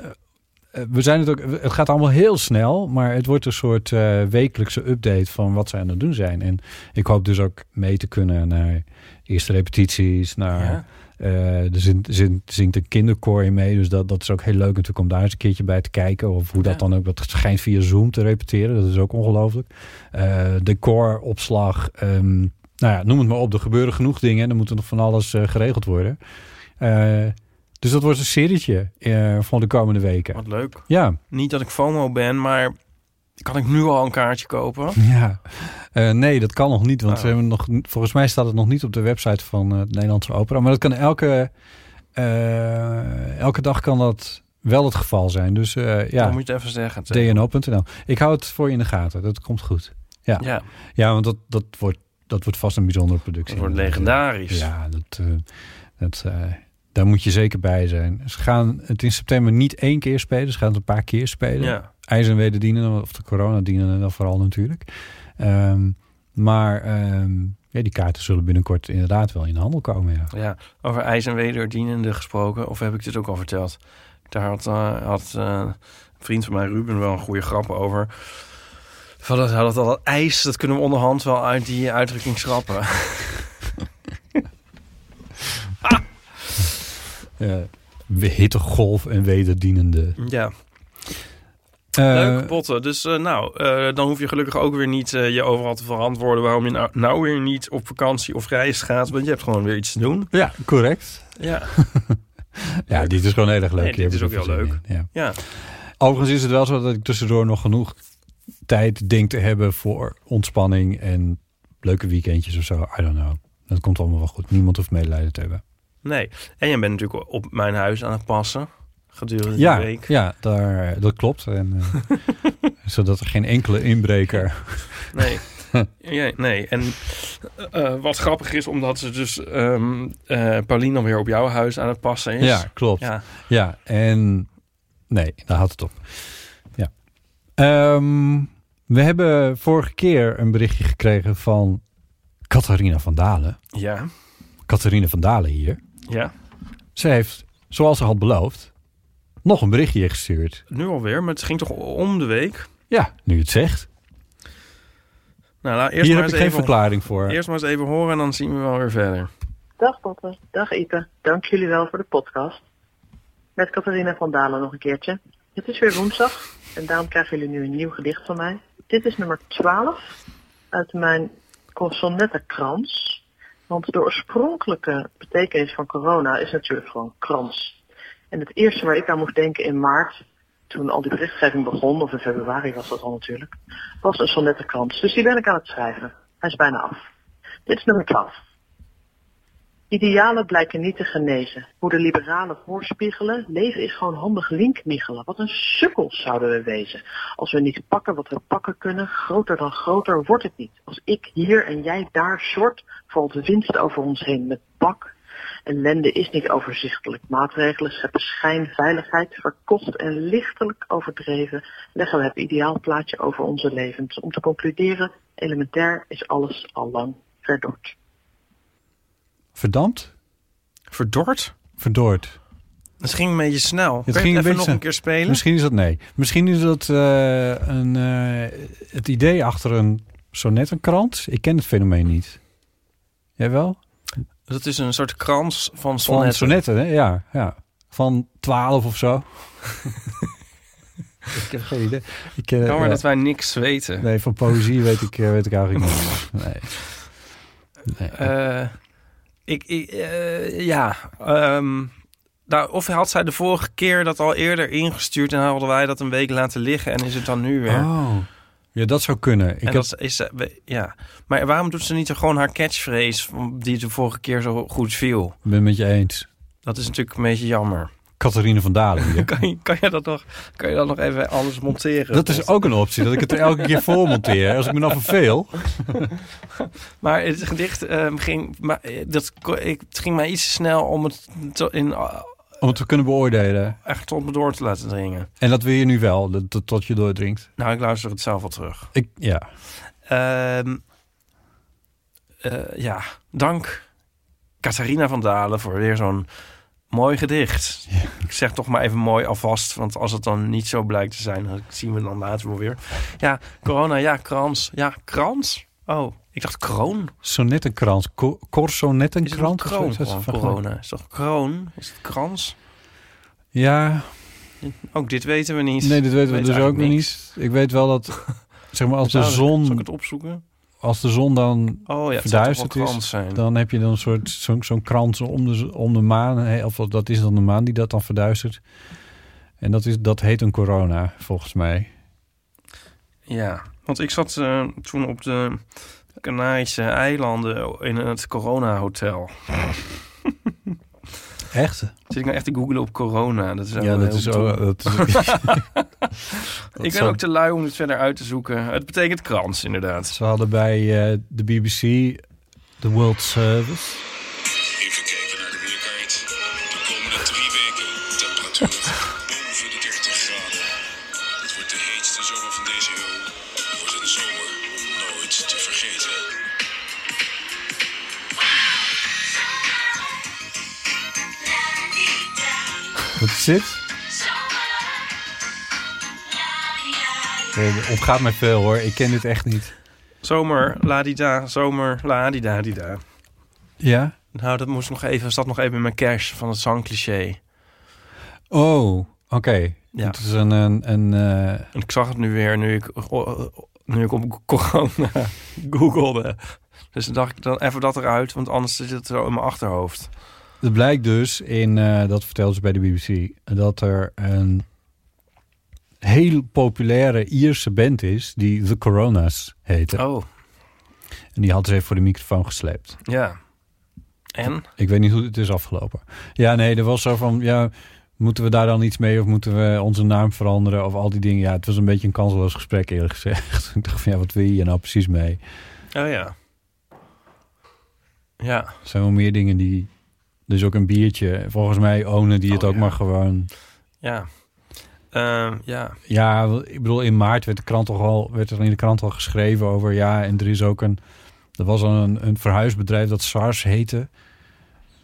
eh, we zijn het ook, het gaat allemaal heel snel, maar het wordt een soort eh, wekelijkse update van wat ze aan het doen zijn. En ik hoop dus ook mee te kunnen naar eerste repetities, naar
Ja.
eh, er zingt, zingt, zingt een kinderkoor in mee. Dus dat, dat is ook heel leuk natuurlijk om daar eens een keertje bij te kijken. Of hoe dat
Ja.
dan ook. Dat schijnt via Zoom te repeteren. Dat is ook ongelooflijk. Eh decoropslag. ehm, nou ja, noem het maar op. Er gebeuren genoeg dingen. En er moet nog van alles eh, geregeld worden. Eh, dus dat wordt een serietje eh, van de komende weken.
Wat leuk.
Ja,
Niet dat ik FOMO ben, maar kan ik nu al een kaartje kopen?
<laughs> ja. Eh, nee, dat kan nog niet. Want
Oh.
ze hebben nog, volgens mij staat het nog niet op de website van eh, het Nederlandse Opera. Maar dat kan elke, eh, elke dag kan dat wel het geval zijn. Dus eh,
Ja.
ja,
Dan moet je het even zeggen. zeg.
dno.nl. Ik hou het voor je in de gaten. Dat komt goed.
Ja,
Ja, want dat, dat, wordt, dat wordt vast een bijzondere productie.
het wordt legendarisch.
Ja, dat, eh, dat, eh, daar moet je zeker bij zijn. Ze gaan het in september niet één keer spelen. Ze gaan het een paar keer spelen.
Ja.
IJs en wederdienen, of de coronadienen dan vooral natuurlijk. Ehm, maar ehm, ja, die kaarten zullen binnenkort inderdaad wel in de handel komen. Ja.
Ja, over ijs en wederdienende gesproken. Of heb ik dit ook al verteld? Daar had, eh, had eh, een vriend van mij, Ruben, wel een goede grap over. Van dat, dat, dat, dat ijs, dat kunnen we onderhand wel uit die uitdrukking schrappen. <laughs>
Eh, hittegolf en wederdienende.
ja,
Eh,
leuk botten. Dus eh, nou, eh, dan hoef je gelukkig ook weer niet eh, je overal te verantwoorden... waarom je nou, nou weer niet op vakantie of reis gaat. Want je hebt gewoon weer iets te doen.
ja, correct.
Ja,
Ja, dit is gewoon heel erg leuk.
Nee,
Hier
dit
heb
is
ik
ook heel
veel
leuk.
zin in, Ja.
ja.
Overigens is het wel zo dat ik tussendoor nog genoeg tijd denk te hebben voor ontspanning en leuke weekendjes of zo. I don't know. Dat komt allemaal wel goed. Niemand hoeft medelijden te hebben.
nee. En jij bent natuurlijk op mijn huis aan het passen gedurende
Ja,
de week.
ja daar, dat klopt. En,
<laughs>
eh, zodat er geen enkele inbreker. <laughs>
Nee. Ja, nee. En eh, eh, wat grappig is, omdat ze dus ehm eh Pauline dan weer op jouw huis aan het passen is.
Ja, klopt. Ja.
Ja.
en nee, daar houdt het op. Ja. Ehm, we hebben vorige keer een berichtje gekregen van Catharina van Dalen.
Ja.
Catharina van Dalen hier.
ja.
Ze heeft, zoals ze had beloofd, nog een berichtje gestuurd.
Nu alweer, maar het ging toch om de week?
Ja, nu je het zegt.
Nou, laat eerst
Hier
maar
heb ik
eens
geen
even,
verklaring voor.
Eerst maar eens even horen en dan zien we wel weer verder.
Dag Botte. Dag Ipe. Dank jullie wel voor de podcast. Met Catharina van Dalen nog een keertje. Het is weer woensdag en daarom krijgen jullie nu een nieuw gedicht van mij. Dit is nummer 12 uit mijn consonantenkrans. Want de oorspronkelijke betekenis van corona is natuurlijk gewoon krans. En het eerste waar ik aan moest denken in maart, toen al die berichtgeving begon, of in februari was dat al natuurlijk, was een sonnettenkrans. Dus die ben ik aan het schrijven. Hij is bijna af. Dit is nummer 12. Idealen blijken niet te genezen. Hoe de liberalen voorspiegelen, leven is gewoon handig linkmiggelen. Wat een sukkels zouden we wezen. Als we niet pakken wat we pakken kunnen, groter dan groter wordt het niet. Als ik hier en jij daar short, valt de winst over ons heen met bak. Ellende is niet overzichtelijk. Maatregelen scheppen schijnveiligheid, verkocht en lichtelijk overdreven. Leggen we het ideaalplaatje over onze levens. Om te concluderen, elementair is alles al lang verdord.
Verdampt?
Verdord?
Verdoord.
Het ging een beetje snel. Het
ging een
ging even
beetje
nog
snel.
een keer spelen.
Misschien is dat nee. Misschien is dat eh, een, eh, het idee achter een sonnettenkrant. Ik ken het fenomeen niet. Jij wel?
Dat is een soort krans van
Van
sonnetten.
sonnetten, hè? Ja, ja. Van twaalf of zo. <laughs> ik heb geen idee. Ik, ken
Jammer dat wij niks weten.
Nee, van poëzie weet ik, eh, weet ik eigenlijk niet. Nee. Nee.
Eh, ik, ik eh, ja, eh, ehm, nou, of had zij de vorige keer dat al eerder ingestuurd en hadden wij dat een week laten liggen en is het dan nu weer?
Oh. Ja, dat zou kunnen. Ik
en
heb,
dat is, eh, we- ja. Maar waarom doet ze niet gewoon haar catchphrase van- die de vorige keer zo goed viel?
ben het met je eens.
Dat is natuurlijk een beetje jammer.
Catharine van Dalen hier.
<laughs> Kan je, kan je, dat, nog, kan je dat nog even anders monteren?
Dat is ook een optie, dat ik het er elke keer voor monteer. Als ik me dan verveel.
Maar het gedicht ehm, ging, maar, eh, dat, ko- ik, het ging mij iets te snel om het te- in, ah,
Om het te kunnen beoordelen.
echt tot me door te laten dringen.
En dat wil je nu wel, dat, dat- tot je doordringt.
Nou, ik luister het zelf wel terug.
Ik, ja.
Ehm, eh, ja, dank Catharina van Dalen voor weer zo'n mooi gedicht. Ik zeg toch maar even mooi alvast, want als het dan niet zo blijkt te zijn, dan zien we dan later wel weer. Ja, corona, ja, krans. Ja, krans? Oh, ik dacht kroon.
Sonnettenkrans. Ko-
Is het een
Korsonnettenkrans?
kroon
Is dat
van
van-
corona? Is toch kroon? Is het krans?
Ja,
Ook dit weten we niet.
nee, dat weten we
Weet
dus ook
eigenlijk
nog
niks.
niet. Ik weet wel
<laughs>
dat, zeg maar, als de
Zou ik- Zal ik
zon,
het opzoeken?
als de zon dan
Oh ja, het zou toch
verduisterd
wel
is,
krans zijn.
dan heb je dan een soort zo'n zo'n krans om de, z- om de maan. hè, Of dat- dat is dan de maan die dat dan verduistert. En dat, is, dat heet een corona, volgens mij.
Ja, want ik zat eh, toen op de Canarische eilanden in het Corona Hotel.
Echt?
Zit ik nou echt te googlen op corona? Dat is
Ja,
eigenlijk
dat
wel
is
heel
ook.
dom.
Dat
<laughs>
is,
ik ben
zou-
ook te lui om dit verder uit te zoeken. Het betekent krans, inderdaad.
ze hadden bij eh, de BBC de World Service.
Even kijken naar de weerkaart. De komende drie weken temperatuur <laughs> boven de 30 graden. Het wordt de heetste zomer van deze eeuw. Het wordt een zomer om nooit te vergeten.
Wat is dit? Nee, Het ontgaat mij veel hoor. Ik ken dit echt niet.
Zomer, ladida, zomer, ladida, dida.
Ja?
Nou, dat moest nog even, zat nog even in mijn cash van het zangcliché.
Oh, oké.
Ja.
Het is een. een, een eh,
En ik zag het nu weer nu ik, oh, nu ik op <laughs> corona googelde. Dus dan dacht ik dan even dat eruit, want anders zit het zo in mijn achterhoofd.
het blijkt dus in. eh, dat vertelden ze bij de BBC. Dat er een heel populaire Ierse band is. die The Coronas heette.
Oh,
En die had ze even voor de microfoon gesleept.
ja. En?
Ik weet niet hoe het is afgelopen. Ja, nee, er was zo van, ja, moeten we daar dan iets mee of moeten we onze naam veranderen of al die dingen. Ja, het was een beetje een kansloos gesprek eerlijk gezegd. <laughs> Ik dacht van, ja, wat wil je hier nou precies mee?
Oh ja. Ja.
Er zijn wel meer dingen die, dus ook een biertje. Volgens mij ownen die het
Oh,
ook
ja.
maar gewoon.
Ja. Ehm, ja.
Ja, ik bedoel, in maart werd, de krant toch al, werd er in de krant al geschreven over, ja, en er is ook een, er was al een, een verhuisbedrijf dat SARS heette.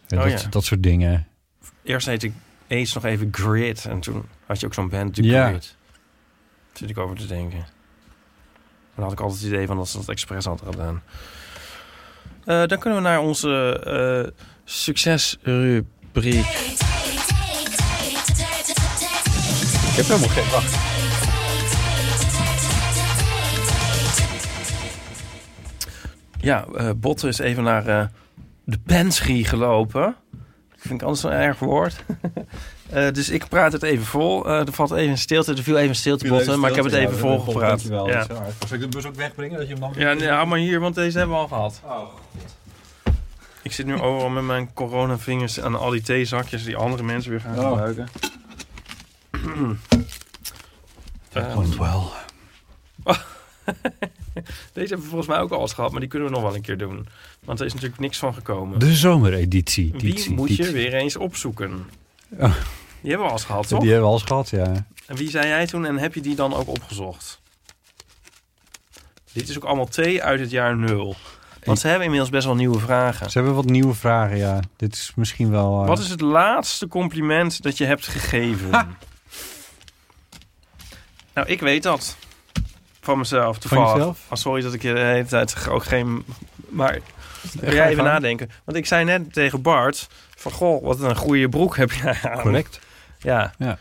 Ja,
Oh,
dat,
ja.
dat soort dingen.
Eerst heette ik eens nog even Grid. En toen had je ook zo'n band, The
Ja.
Grid. Zit ik over te denken. En dan had ik altijd het idee van dat ze dat expres hadden gedaan. Eh, dan kunnen we naar onze eh, succesrubriek.
Ik heb helemaal geen, wacht.
Ja, eh Botte is even naar eh, de penschie gelopen. Ik vind anders een erg woord. <laughs> Eh, dus ik praat het even vol. Eh, er valt even een stilte. Er viel even een stilte, Botte. Maar ik heb het even vol gepraat. Ja.
Zal ik de bus ook wegbrengen? Dat je hem dan
Ja, nee, hou maar hier, want deze hebben we al gehad. Ik zit nu overal met mijn coronavingers aan al die theezakjes die andere mensen weer gaan
Oh. <clears throat>
gebruiken. Eh,
wel.
deze hebben we volgens mij ook al eens gehad, maar die kunnen we nog wel een keer doen. Want er is natuurlijk niks van gekomen.
De zomereditie.
Wie
Editie,
moet je
editie.
weer eens opzoeken? Die
Oh.
hebben we al eens gehad,
Die
toch?
hebben we al eens gehad, ja.
En wie zei jij toen en heb je die dan ook opgezocht? Dit is ook allemaal thee uit het jaar nul. Want ze hebben inmiddels best wel nieuwe vragen.
Ze hebben wat nieuwe vragen, ja. Dit is misschien wel... eh,
Wat is het laatste compliment dat je hebt gegeven? Nou, ik weet dat. Van mezelf, toevallig.
jezelf?
Ah, sorry dat ik je de hele tijd ook geen... Maar
Ga
wil
je
jij even
gang.
nadenken. Want ik zei net tegen Bart... van, goh, wat een goede broek heb je aan.
eh, Correct?
Ja.
Ja.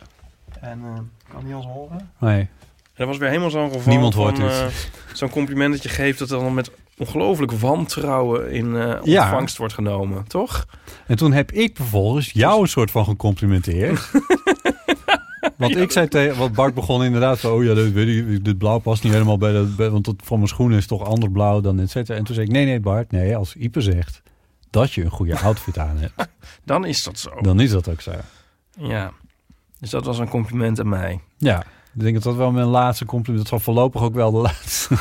En eh, kan die ons horen?
Nee.
En dat was weer helemaal zo'n geval
Niemand hoort
van,
het.
eh, zo'n compliment dat je geeft... dat dan met ongelooflijk wantrouwen in eh,
Ja.
ontvangst wordt genomen, toch?
En toen heb ik vervolgens jou een soort van
<laughs>
gecomplimenteerd. Want ik zei tegen, want Bart begon inderdaad zo, oh ja, dat weet ik, dit blauw past niet helemaal bij dat, bij- want dat van mijn schoenen is toch ander blauw dan et cetera. En toen zei ik, nee, nee Bart, nee, als Ipe zegt dat je een goede outfit aan
Oh.
hebt,
Dan is dat zo.
dan is dat ook zo.
Ja. Dus dat was een compliment aan mij.
Ja, ik denk dat dat wel mijn laatste compliment, dat zal voorlopig ook wel de laatste.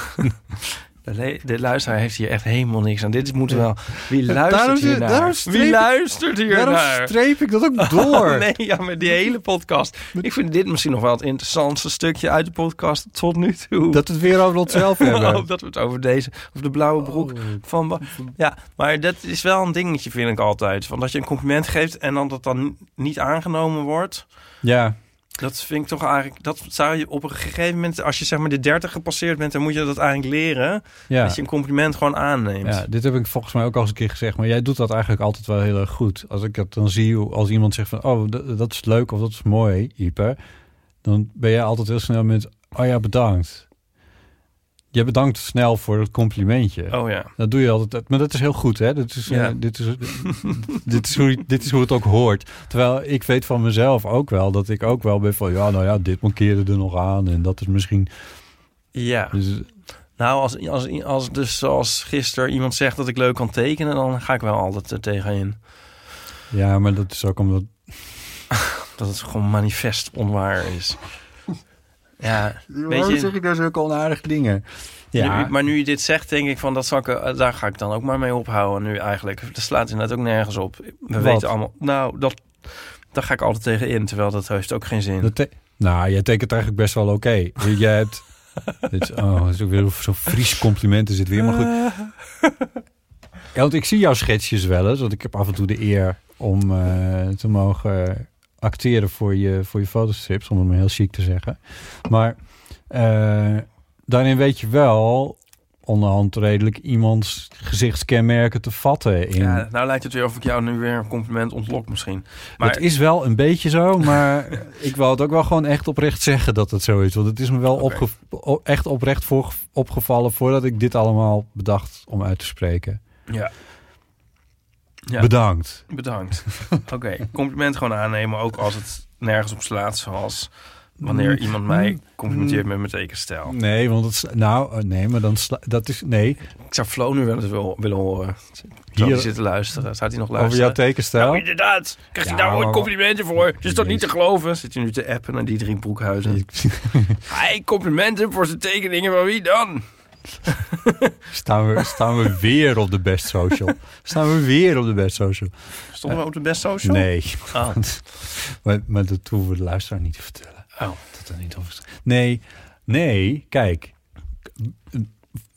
De, le- de luisteraar heeft hier echt helemaal niks aan. Dit moet wel... Wie
Daarom
luistert
zit-
hier
daarom
naar?
streep
Wie
ik-
luistert hier
Daarom
naar?
streep ik dat ook door.
<laughs> Nee, ja, met die hele podcast. Ik vind dit misschien nog wel het interessantste stukje uit de podcast tot nu toe.
Dat we het weer over
<laughs>
onszelf hebben.
Oh, dat we het over deze, of de blauwe broek van... Wa- Ja, maar dat is wel een dingetje, vind ik altijd. Van dat je een compliment geeft en dan dat dan niet aangenomen wordt.
Ja,
Dat vind ik toch eigenlijk... Dat zou je op een gegeven moment... Als je zeg maar de 30 gepasseerd bent, dan moet je dat eigenlijk leren.
ja.
Dat je een compliment gewoon aanneemt.
Ja, dit heb ik volgens mij ook al eens een keer gezegd. Maar jij doet dat eigenlijk altijd wel heel erg goed. Als ik dat dan zie, hoe- als iemand zegt van... oh, d- dat is leuk of dat is mooi, Ipe. Dan ben jij altijd heel snel met... oh ja, bedankt. Je bedankt snel voor het complimentje.
Oh ja.
Dat doe je altijd. Maar dat is heel goed, hè? Dat is, eh,
Ja.
dit, is, <laughs> dit, is hoe, je- dit is hoe het ook hoort. Terwijl ik weet van mezelf ook wel... dat ik ook wel ben van... ja, nou ja, dit mankeerde er nog aan. En dat is misschien...
Ja.
Dus,
Nou, als, als, als dus zoals gisteren iemand zegt dat ik leuk kan tekenen, dan ga ik wel altijd er tegenin.
ja, maar dat is ook omdat...
Dat het gewoon manifest onwaar is. Ja, weet
Waarom zeg
je.
ik daar zulke onaardige dingen?
nu- maar nu je dit zegt, denk ik van dat zal ik, eh, daar ga ik dan ook maar mee ophouden nu eigenlijk. Dat slaat inderdaad ook nergens op. We weten allemaal. Nou, dat, daar ga ik altijd tegen in, terwijl dat heeft ook geen zin.
Dat te- nou, jij tekent eigenlijk best wel oké. Jij hebt... Dit is, oh, het is ook weer zo'n Fries compliment is het weer, maar goed. Ja, want ik zie jouw schetsjes wel eens, want ik heb af en toe de eer om eh, te mogen acteren voor je, voor je fotostrips, om het maar heel chic te zeggen. Maar eh, daarin weet je wel onderhand redelijk iemands gezichtskenmerken te vatten. In,
ja, nou lijkt het weer of ik jou nu weer een compliment ontlok misschien. Maar
het is wel een beetje zo,
<laughs>
maar ik wil het ook wel gewoon echt oprecht zeggen dat het zo is. Want het is me wel
Oké.
opge- o- echt oprecht voor, opgevallen voordat ik dit allemaal bedacht om uit te spreken.
ja. Ja.
Bedankt. <laughs>
Bedankt. Oké, compliment gewoon aannemen, ook als het nergens op slaat, zoals
Mm.
wanneer iemand mij complimenteert met mijn tekenstijl.
Nee, want het, sla- nou, eh, nee, maar dan sla- dat is, nee,
Ik zou Flo nu wel eens wil, willen horen. Zou
Hier-
hij zitten luisteren? Zou hij nog
over jouw
luisteren?
tekenstijl.
Nou, Inderdaad, krijg je
Oh. Ja,
daar ooit
maar-
complimenten voor? Het is toch niet te
Jezus.
geloven? Zit je nu te appen naar die drie broekhuizen?
Ik- <laughs>
Hij complimenten voor zijn tekeningen van wie dan?
staan, we, staan we weer op de best
<laughs>
social? Staan we weer op de best social?
Stonden we op de best social?
Nee.
Oh.
Maar, maar dat hoeven we de luisteraar niet te vertellen.
Oh.
Dat er niet over Nee, nee, kijk.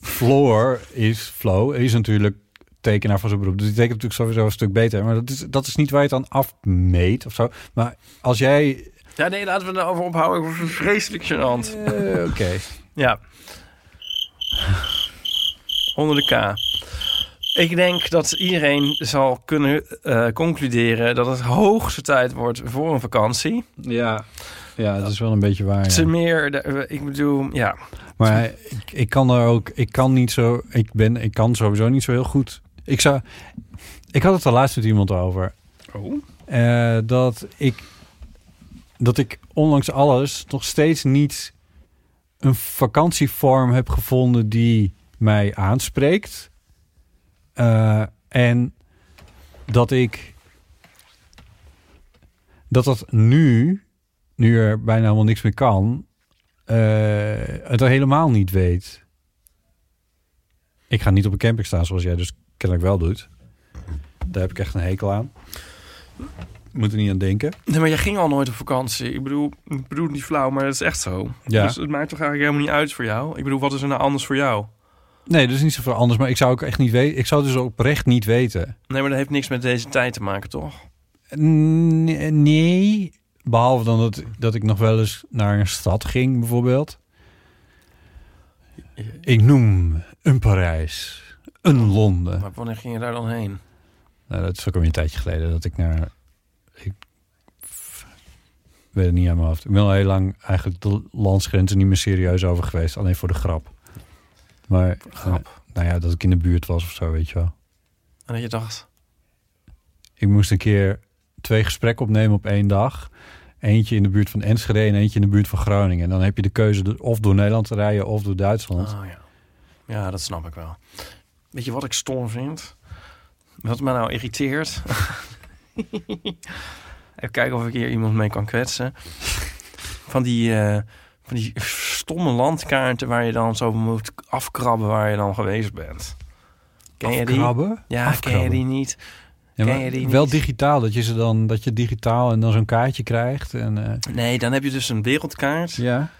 Floor is, Flo is natuurlijk tekenaar van zijn beroep. Dus die tekent natuurlijk sowieso een stuk beter. Maar dat is, dat is niet waar je het aan afmeet of zo. Maar als jij...
Ja, nee, laten we het daarover ophouden. Ik word zo vreselijk gênant.
eh, Oké.
Ja. Onder de K. Ik denk dat iedereen zal kunnen eh, concluderen dat het hoogste tijd wordt voor een vakantie.
Ja. Ja, dat is wel een beetje waar.
Te
ja.
meer, de- ik bedoel, ja.
Maar ik, ik kan er ook... Ik kan niet zo... Ik ben... Ik kan sowieso niet zo heel goed... Ik zou... Ik had het er laatst met iemand over.
Oh.
Eh, dat ik dat ik ondanks alles nog steeds niet een vakantievorm heb gevonden die mij aanspreekt. Eh, en dat ik dat dat nu, nu er bijna helemaal niks meer kan, eh, het helemaal niet weet. Ik ga niet op een camping staan zoals jij dus kennelijk wel doet. Daar heb ik echt een hekel aan. Moet er niet aan denken.
Nee, maar jij ging al nooit op vakantie. Ik bedoel, ik bedoel het niet flauw, maar het is echt zo.
Ja.
Dus het maakt toch eigenlijk helemaal niet uit voor jou? Ik bedoel, wat is er nou anders voor jou?
Nee, dat is niet zoveel anders. Maar ik zou ook echt niet weten. Ik zou het dus oprecht niet weten.
Nee, maar dat heeft niks met deze tijd te maken, toch?
Nee, nee. Behalve dan dat, dat ik nog wel eens naar een stad ging, bijvoorbeeld. Ik noem een Parijs, een Londen.
Maar wanneer ging je daar dan heen?
Nou, dat is ook alweer een tijdje geleden dat ik naar... Ik f- weet het niet aan mijn hoofd. Ik ben al heel lang eigenlijk de landsgrenzen niet meer serieus over geweest. Alleen voor de grap. Maar
Grap.
eh, nou ja, dat ik in de buurt was of zo, weet je wel.
En dat je dacht,
Ik moest een keer twee gesprekken opnemen op één dag. Eentje in de buurt van Enschede en eentje in de buurt van Groningen. En dan heb je de keuze do- of door Nederland te rijden of door Duitsland.
oh ja. Ja, dat snap ik wel. Weet je wat ik stom vind? Wat me nou irriteert? <laughs> Even kijken of ik hier iemand mee kan kwetsen. Van die, eh, van die stomme landkaarten waar je dan zo moet afkrabben waar je dan geweest bent. Ken je die?
Afkrabben?
Ja,
Afkrabben.
ken je die niet?
Ja,
ken
maar
je die
wel
niet?
digitaal, dat je ze dan dat je digitaal en dan zo'n kaartje krijgt. En, eh,
Nee, dan heb je dus een wereldkaart. Ja,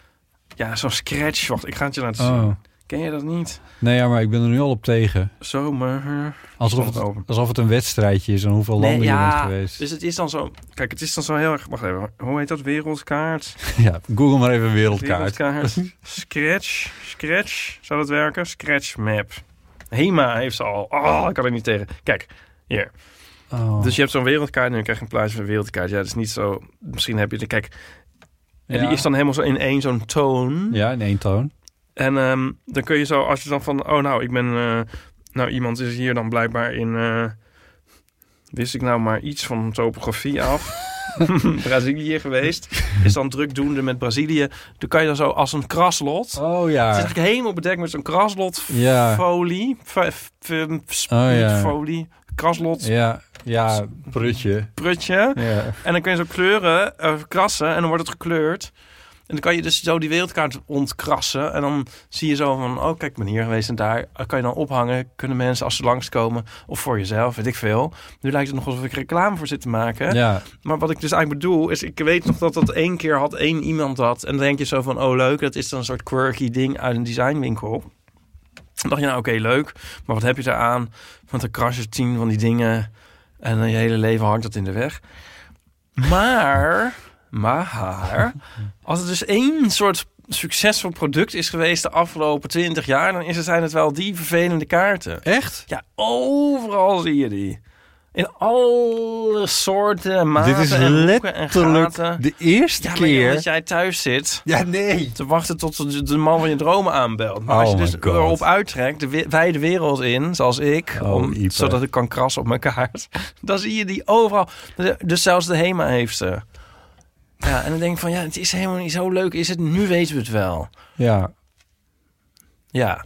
ja.
zo'n scratch. Wacht, ik ga het je laten zien.
Oh.
Ken je dat niet?
Nee, ja, maar ik ben er nu al op tegen.
Zomaar.
Alsof
Stond
het,
open.
alsof het een wedstrijdje is en hoeveel landen je bent geweest.
dus het is dan zo... Kijk, het is dan zo heel erg... Wacht even, hoe heet dat? Wereldkaart?
<laughs> Ja, Google maar even wereldkaart. <laughs>
Wereldkaart. Scratch? Scratch? Zou dat werken? Scratch map. Hema heeft ze al. Oh, ik kan er niet tegen. Kijk, hier.
Oh.
Dus je hebt zo'n wereldkaart en dan krijg je in plaats van een wereldkaart. Ja, dat is niet zo... Misschien heb je... de Kijk, en
Ja.
die is dan helemaal zo in één zo'n toon.
Ja, in één toon.
En ehm, dan kun je zo, als je dan van, oh nou, ik ben, eh, nou iemand is hier dan blijkbaar in, eh, wist ik nou maar iets van topografie af.
<laughs>
<laughs> Brazilië geweest, is dan drukdoende met Brazilië. Dan kan je dan zo als een kraslot.
Oh
Het is
ja.
eigenlijk helemaal bedekt met zo'n kraslotfolie.
Ja.
F- f- f- sp-
Oh, ja.
Folie. Kraslot.
Ja, ja, prutje.
Prutje.
Ja.
En dan kun je zo kleuren, eh, krassen en dan wordt het gekleurd. En dan kan je dus zo die wereldkaart ontkrassen. En dan zie je zo van, oh kijk, ik ben hier geweest en daar. Eh, Kan je dan ophangen, kunnen mensen als ze langskomen of voor jezelf, weet ik veel. Nu lijkt het nog alsof ik reclame voor zit te maken.
ja.
Maar wat ik dus eigenlijk bedoel is, ik weet nog dat dat één keer had één iemand dat. En dan denk je zo van, oh leuk, dat is dan een soort quirky ding uit een designwinkel. Dan dacht je, nou oké, leuk, maar wat heb je daaraan? Want er crashen tien van die dingen en dan je hele leven hangt dat in de weg. Maar, maar, als het dus één soort succesvol product is geweest de afgelopen twintig jaar... dan is het, zijn het wel die vervelende kaarten.
Echt?
Ja, overal zie je die. In alle soorten en maten
Dit is
en hoeken en
letterlijk
gaten.
de eerste
Ja, maar joh,
keer.
dat jij thuis zit
Ja, nee.
te wachten tot de, de man van je dromen aanbelt. Maar als je
Oh
dus
my God.
erop uittrekt, de we- wijde wereld in, zoals ik,
Oh,
om,
Ipe.
zodat ik kan krassen op mijn kaart, <laughs> dan zie je die overal. Dus zelfs de HEMA heeft ze. Ja, en dan denk ik van, ja, het is helemaal niet zo leuk. Is het? Nu weten we het wel.
Ja,
Ja.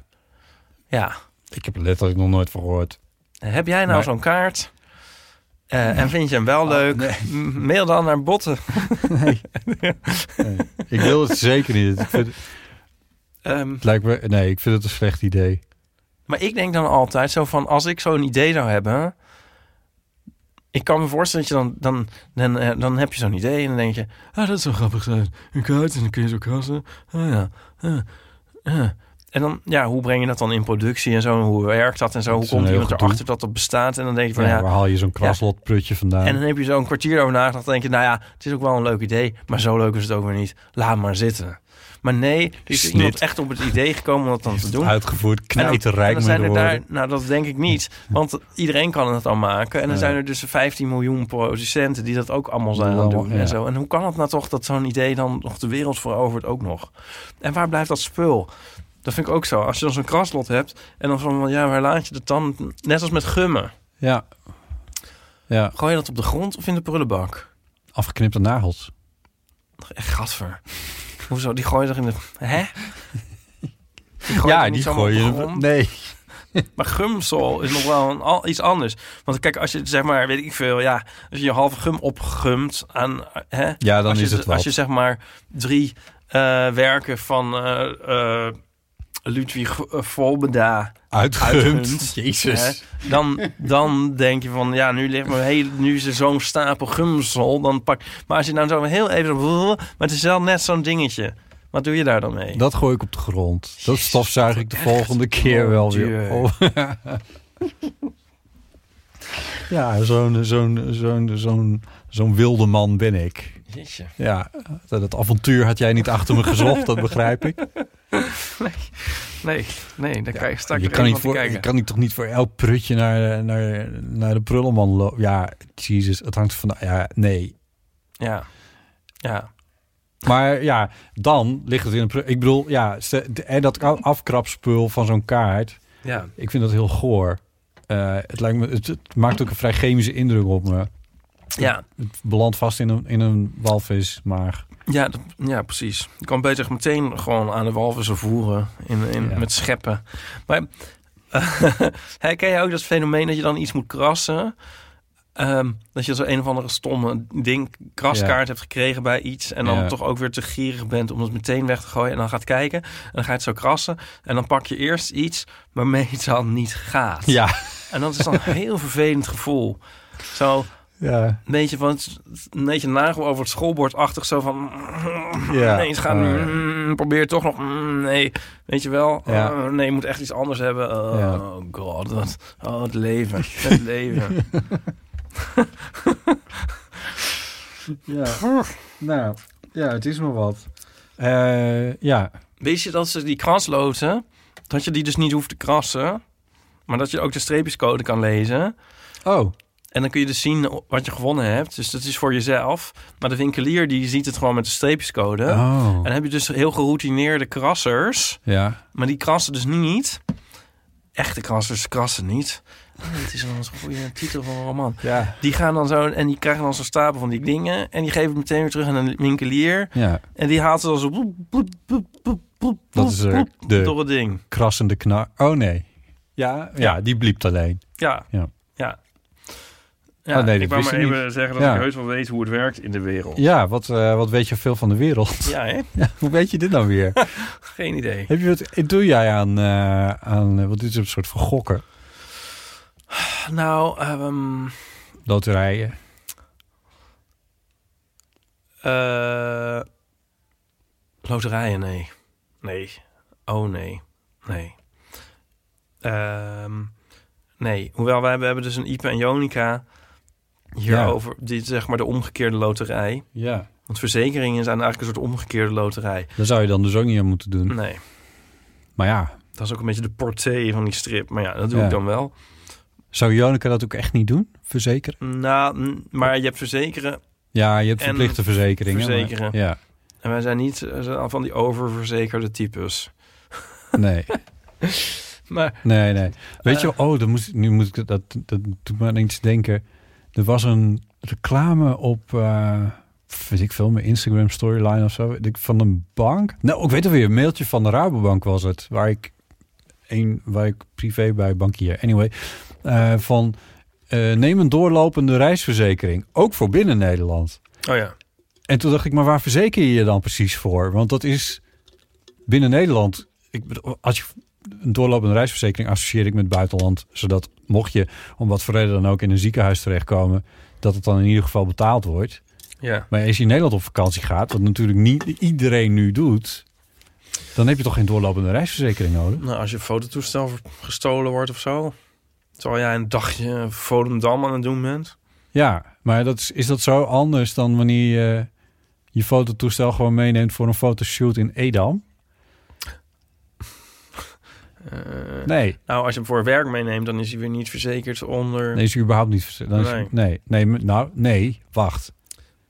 Ja.
ik heb er letterlijk nog nooit van gehoord.
Heb jij nou
Maar- Ah,
zo'n kaart? Eh, en vind je hem wel leuk? M- Mail dan naar botten.
Ik wil
<laughs>
het zeker niet. Ik vind,
Ehm,
het lijkt me, nee, ik vind het een slecht idee.
maar ik denk dan altijd zo van, als ik zo'n idee zou hebben... Ik kan me voorstellen dat je dan, dan, dan, eh, dan heb je zo'n idee en dan denk je... Ah, dat zou grappig zijn. Een kaart en dan kun je zo krassen. Ah ja. Ah, ah. En dan, ja, hoe breng je dat dan in productie en zo? en Hoe werkt dat en zo? Hoe
is een
komt
heel
iemand
gedoe.
erachter dat dat bestaat? En dan denk je van,
Ja,
ja
waar haal je zo'n kraslotprutje vandaan?
En dan heb je zo een kwartier over nagedacht. Dan denk je, nou ja, het is ook wel een leuk idee. Maar zo leuk is het ook weer niet. Laat maar zitten. Maar nee, er is
Snit.
iemand echt op het idee gekomen om dat dan te doen.
Uitgevoerd,
En dan- en
knijterrijk
dan
met
zijn er daar,
worden.
Nou, dat denk ik niet. Want iedereen kan het dan maken. En dan zijn er dus 15 miljoen producenten die dat ook allemaal zijn aan het doen.
Ja.
En, zo. en hoe kan het nou toch dat zo'n idee dan nog de wereld verovert ook nog? En waar blijft dat spul? Dat vind ik ook zo. Als je dan zo'n kraslot hebt en dan van, ja, waar laat je dat dan? Net als met gummen.
Ja. ja,
Gooi je dat op de grond of in de prullenbak?
afgeknipte nagels.
Echt gadver. Hoezo? Die gooi je toch in de... Hè? Die gooi
ja,
toch niet
die
zomaar
gooi
op de
je.
grond?
Nee.
Maar gumsel is nog wel een, al, iets anders. Want kijk, als je zeg maar, weet ik veel, ja, als je je halve gum opgumt aan, hè,
Ja, dan
als
is
je,
het wat.
Als je zeg maar drie eh, werken van eh, eh, Ludwig eh, Volbeda
Uitgehunt. <laughs>
<laughs> uitgumt, hè, dan, dan denk je van, ja, nu ligt mijn hele, nu is er zo'n stapel gumsel, dan pak. Maar als je nou zo heel even, zo- maar het is wel net zo'n dingetje. Wat doe je daar dan mee?
Dat gooi ik op de grond. Dat stofzuig ik de volgende keer
Oh,
wel weer
jee. <laughs>
op. ja, zo'n zo'n zo'n zo'n zo'n wilde man ben ik.
Jeetje.
Ja, dat, dat avontuur had jij niet achter me gezocht, dat begrijp
<laughs>
ik.
Nee, nee, daar krijg je straks
je,
er
kan niet
helemaal
voor,
te
je
kijken.
kan niet toch niet voor elk prutje naar, naar, naar de prullenman lopen? Ja, jezus, het hangt van... Ja, nee.
Ja. Ja.
Maar ja, dan ligt het in een... pro- Ik bedoel, ja, ze- de- en dat afkrapspul van zo'n kaart...
Ja.
Ik vind dat heel goor. Eh, het, lijkt me, het, het maakt ook een vrij chemische indruk op me.
Ja.
Het belandt vast in een, in een walvismaag.
Ja, dat- ja, precies. Je kan beter meteen gewoon aan de walvissen voeren in, in,
Ja.
met scheppen. Maar <laughs> Hey, ken je ook dat fenomeen dat je dan iets moet krassen? Ehm, dat je zo een of andere stomme ding, kraskaart hebt gekregen bij iets... en dan
Ja.
toch ook weer te gierig bent om het meteen weg te gooien... en dan gaat kijken en dan ga je het zo krassen... en dan pak je eerst iets waarmee het dan niet gaat.
Ja.
En dat is dan een heel vervelend gevoel. Zo,
ja.
een beetje van het- een beetje nagel over het schoolbordachtig zo van
Ja.
<laughs> nee het gaat
Oh,
niet,
ja.
mm, probeer toch nog mm, nee weet je wel
Ja.
Oh, nee je moet echt iets anders hebben oh
Ja.
god wat oh het leven het <laughs> leven
ja. Nou, ja, het is maar wat. Eh, ja.
wist je dat ze die krasloten dat je die dus niet hoeft te krassen maar dat je ook de streepjescode kan lezen
Oh,
en dan kun je dus zien wat je gewonnen hebt dus dat is voor jezelf maar de winkelier die ziet het gewoon met de streepjescode en
oh.
dan heb je dus heel geroutineerde krassers
Ja.
Maar die krassen dus niet. Echte krassers krassen niet. Oh, het is wel een goede titel van een roman.
Ja.
Die gaan dan zo en die krijgen dan zo'n stapel van die dingen. En die geven het meteen weer terug aan een winkelier.
Ja.
En die haalt ze dan zo. boep, boep, boep, boep, boep,
Dat is er,
boep,
de-
door het ding.
Krassende knar. Oh nee. Ja, ja, die bliep alleen.
Ja.
Ja.
Ja.
Oh, nee,
ik
dat
wou
wist
maar
ik
even zeggen dat
Ja.
ik heus wel weet hoe het werkt in de wereld.
Ja, wat, eh, wat weet je veel van de wereld? <laughs>
Ja, hè?
Hoe weet je dit nou
<laughs>
weer?
Geen idee.
Heb je wat, doe jij aan, eh, aan eh, wat dit is een soort van gokken?
Nou, ehm,
Loterijen.
Eh loterijen, nee. Nee. Oh, nee. Nee. Ehm, nee. Hoewel, wij, we hebben dus een Ipe en Jonica hierover. Dit is zeg maar de omgekeerde loterij.
Ja.
Want verzekeringen zijn eigenlijk een soort omgekeerde loterij.
Daar zou je dan dus ook niet aan moeten doen.
Nee.
Maar ja,
Dat is ook een beetje de portée van die strip. Maar ja, dat doe
Ja.
ik dan wel.
zou Jonica dat ook echt niet doen? Verzekeren?
Nou, n- maar je hebt verzekeren.
Ja, je hebt
En
verplichte verzekeringen. maar-
verzekeren.
ja,
En wij zijn niet eh, van die oververzekerde types.
nee,
Maar
nee, nee. <laughs> Weet je, wel- oh, dan moest, nu moet ik dat, dat doet me aan iets denken. Er was een reclame op, eh weet ik veel, mijn Instagram storyline of zo, weet ik, van een bank. Nou, ik weet alweer, een mailtje van de Rabobank was het, waar ik, een, waar ik privé bij bankier. Anyway, eh, van eh, neem een doorlopende reisverzekering, ook voor binnen Nederland.
Oh ja.
En toen dacht ik, maar waar verzeker je je dan precies voor? Want dat is binnen Nederland. Ik, bedoel, als je een doorlopende reisverzekering associeer ik met het buitenland, zodat mocht je om wat voor reden dan ook in een ziekenhuis terechtkomen, dat het dan in ieder geval betaald wordt.
Ja.
Maar als je in Nederland op vakantie gaat, wat natuurlijk niet iedereen nu doet, dan heb je toch geen doorlopende reisverzekering nodig?
Nou, als je fototoestel ver- gestolen wordt of zo. Terwijl jij een dagje Volendam aan het doen bent.
Ja, maar dat is, is dat zo anders dan wanneer je je fototoestel gewoon meeneemt voor een fotoshoot in Edam?
Eh,
Nee.
Nou, als je hem voor werk meeneemt, dan is hij weer niet verzekerd onder...
Nee, is hij überhaupt niet verze- dan is-
Nee.
nee, nee, m- nou, nee, wacht.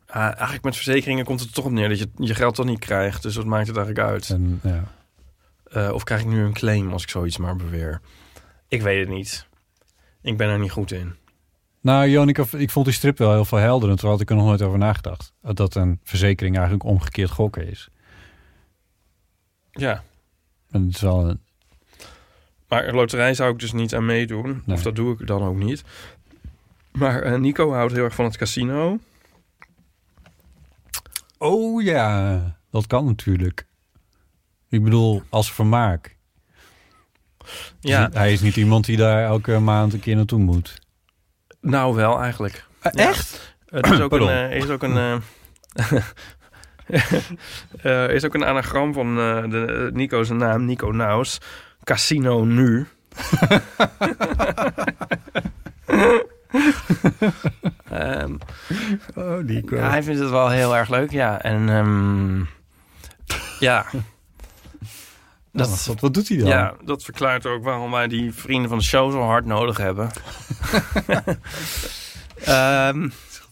Ah, eigenlijk met verzekeringen komt het er toch op neer dat je je geld toch niet krijgt. Dus dat maakt het eigenlijk uit.
En, ja.
Eh, of krijg ik nu een claim als ik zoiets maar beweer? Ik weet het niet. Ik ben er niet goed in.
Nou, Jonica, ik vond die strip wel heel veel helderend. Terwijl had ik er nog nooit over nagedacht. Dat een verzekering eigenlijk omgekeerd gokken is.
Ja.
En het is wel een,
Maar een loterij zou ik dus niet aan meedoen.
Nee.
Of dat doe ik dan ook niet. Maar eh, Nico houdt heel erg van het casino.
oh ja, dat kan natuurlijk. Ik bedoel, als vermaak.
Ja,
Dus hij is niet iemand die daar elke maand een keer naartoe moet.
nou wel eigenlijk. Ja.
Echt?
Het is ook een,
Pardon.
eh, er is ook een, eh, <laughs> eh, er is ook een anagram van eh, de, Nico's naam, Nico Naus. Casino <laughs> nu. Ehm,
Oh, Nico.
ja, hij vindt het wel heel erg leuk, ja. En ehm, ja, dat,
nou, wat, wat doet hij dan?
ja, dat verklaart ook waarom wij die <laughs> vrienden van de show zo hard nodig hebben. Ehm,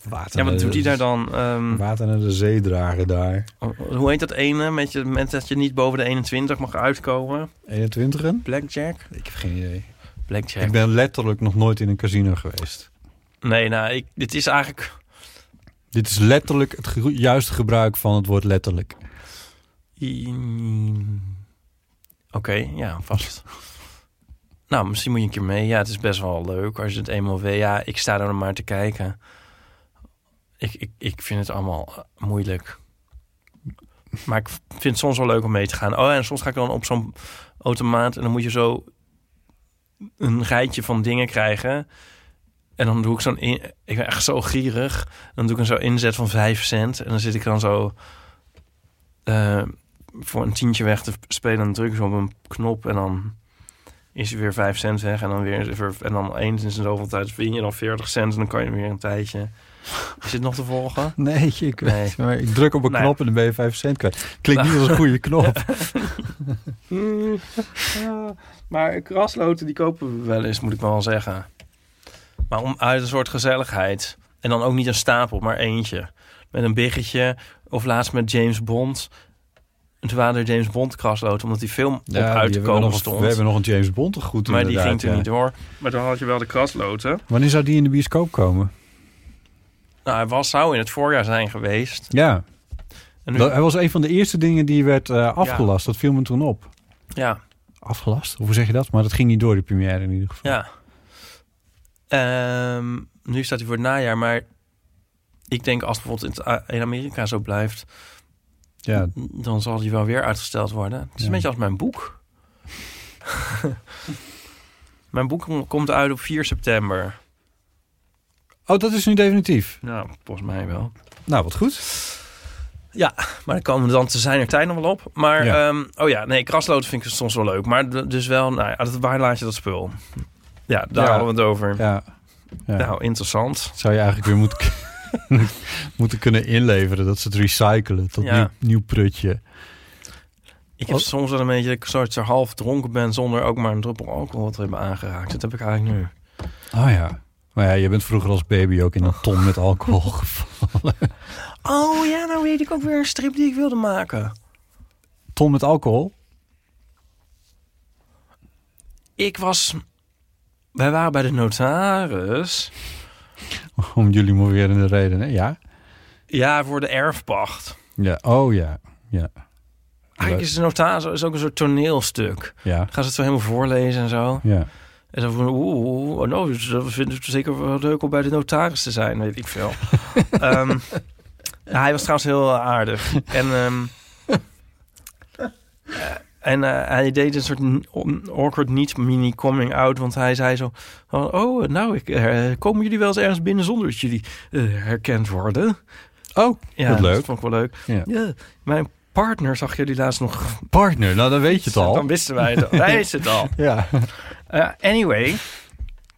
Water
Ja,
naar
wat
de-
doet hij daar dan? Ehm,
Water naar de zee dragen daar.
Oh, hoe heet dat ene met, je, met dat je niet boven de 21 mag uitkomen?
21
Blackjack?
Ik heb geen idee.
Blackjack.
Ik ben letterlijk nog nooit in een casino geweest.
Nee, nou, ik, dit is eigenlijk...
Dit is letterlijk het gero- juiste gebruik van het woord letterlijk.
Mm, Oké, ja, vast. nou, misschien moet je een keer mee. Ja, het is best wel leuk als je het eenmaal weet. Ja, ik sta er maar te kijken. Ik, ik, ik vind het allemaal eh, moeilijk. Maar ik vind het soms wel leuk om mee te gaan. Oh, en soms ga ik dan op zo'n automaat en dan moet je zo een rijtje van dingen krijgen. En dan doe ik zo'n... in- Ik ben echt zo gierig. Dan doe ik een zo inzet van 5 cent. En dan zit ik dan zo... eh, voor een tientje weg te spelen, dan druk ik zo op een knop en dan is er weer 5 cent weg. En dan weer, is er weer- en dan eens in zoveel tijd win je dan 40 cent en dan kan je weer een tijdje. Is dit nog te <laughs> volgen?
Nee, ik,
Nee.
weet- maar ik druk op een
Nee.
knop en dan ben je 5 cent kwijt. Klinkt niet als een goede knop.
maar krasloten, die kopen we wel eens, moet ik wel zeggen. Maar om, uit een soort gezelligheid. En dan ook niet een stapel, maar eentje. Met een biggetje. Of laatst met James Bond. En toen waren er James Bond krasloten, omdat die film
Ja,
op
die
uit te
hebben we
komen
nog-
stond.
We hebben nog een James Bond te goed
Maar die
inderdaad,
ging er
ja.
niet door. Maar dan had je wel de krasloten.
Wanneer zou die in de bioscoop komen?
Nou, hij was, zou in het voorjaar zijn geweest.
Ja,
En nu-
dat, hij was een van de eerste dingen die werd eh, afgelast. Dat viel me toen op.
ja,
Afgelast? Hoe zeg je dat? Maar dat ging niet door, de première in ieder geval.
ja. Ehm, nu staat hij voor het najaar, maar ik denk als het bijvoorbeeld in, het- in Amerika zo blijft,
Ja,
dan zal hij wel weer uitgesteld worden. Het is
Ja.
een beetje als mijn
<laughs>
boek. mijn boek kom- komt uit op 4 september.
Oh, dat is nu definitief.
Nou, volgens mij wel.
Nou, wat goed.
Maar dan komen we dan te zijn er tijd nog wel op. Maar,
Ja.
ehm, oh ja, nee, krasloten vind ik soms wel leuk. Maar d- dus wel, nou ja, dat- waar laat je dat spul? Ja, daar
Ja.
hadden we het over.
Ja. ja.
Nou, interessant.
Zou je eigenlijk weer moeten, <laughs> moeten kunnen inleveren. Dat ze het recyclen tot
Ja.
nieuw, nieuw prutje.
Ik heb
Oh.
soms wel een beetje dat ik soort zo half dronken ben zonder ook maar een druppel alcohol te hebben aangeraakt. Dat heb ik eigenlijk nu.
Oh ja. Oh. Maar ja, je bent vroeger als baby ook in een ton met <laughs> alcohol gevallen.
Oh ja, nou weet ik ook weer een strip die ik wilde maken.
Ton met alcohol?
Ik was. Wij waren bij de notaris.
Om jullie maar weer in de reden, hè? Ja?
Ja, voor de erfpacht.
Ja. Oh ja. Ja.
Eigenlijk is de notaris is ook een soort toneelstuk.
Ja.
Dan gaan ze het zo helemaal voorlezen en zo.
Ja.
En dan van, oeh, oeh, oh, nou, ze vinden het zeker wel leuk om bij de notaris te zijn, weet ik
<laughs>
veel. Ehm, ja, hij was trouwens heel eh, aardig. En, ehm, eh, en eh, hij deed een soort n- on- awkward niet mini coming out, want hij zei zo van, oh, nou, ik, eh, komen jullie wel eens ergens binnen zonder dat jullie eh, herkend worden?
Oh,
Ja,
wat
dat
leuk.
vond ik wel leuk.
Ja.
Ja, mijn partner zag jullie laatst nog.
Partner, nou dan weet je het
Dan
al.
wisten wij
<laughs>
het al. Wij wisten het al.
Ja. <laughs>
Eh, anyway.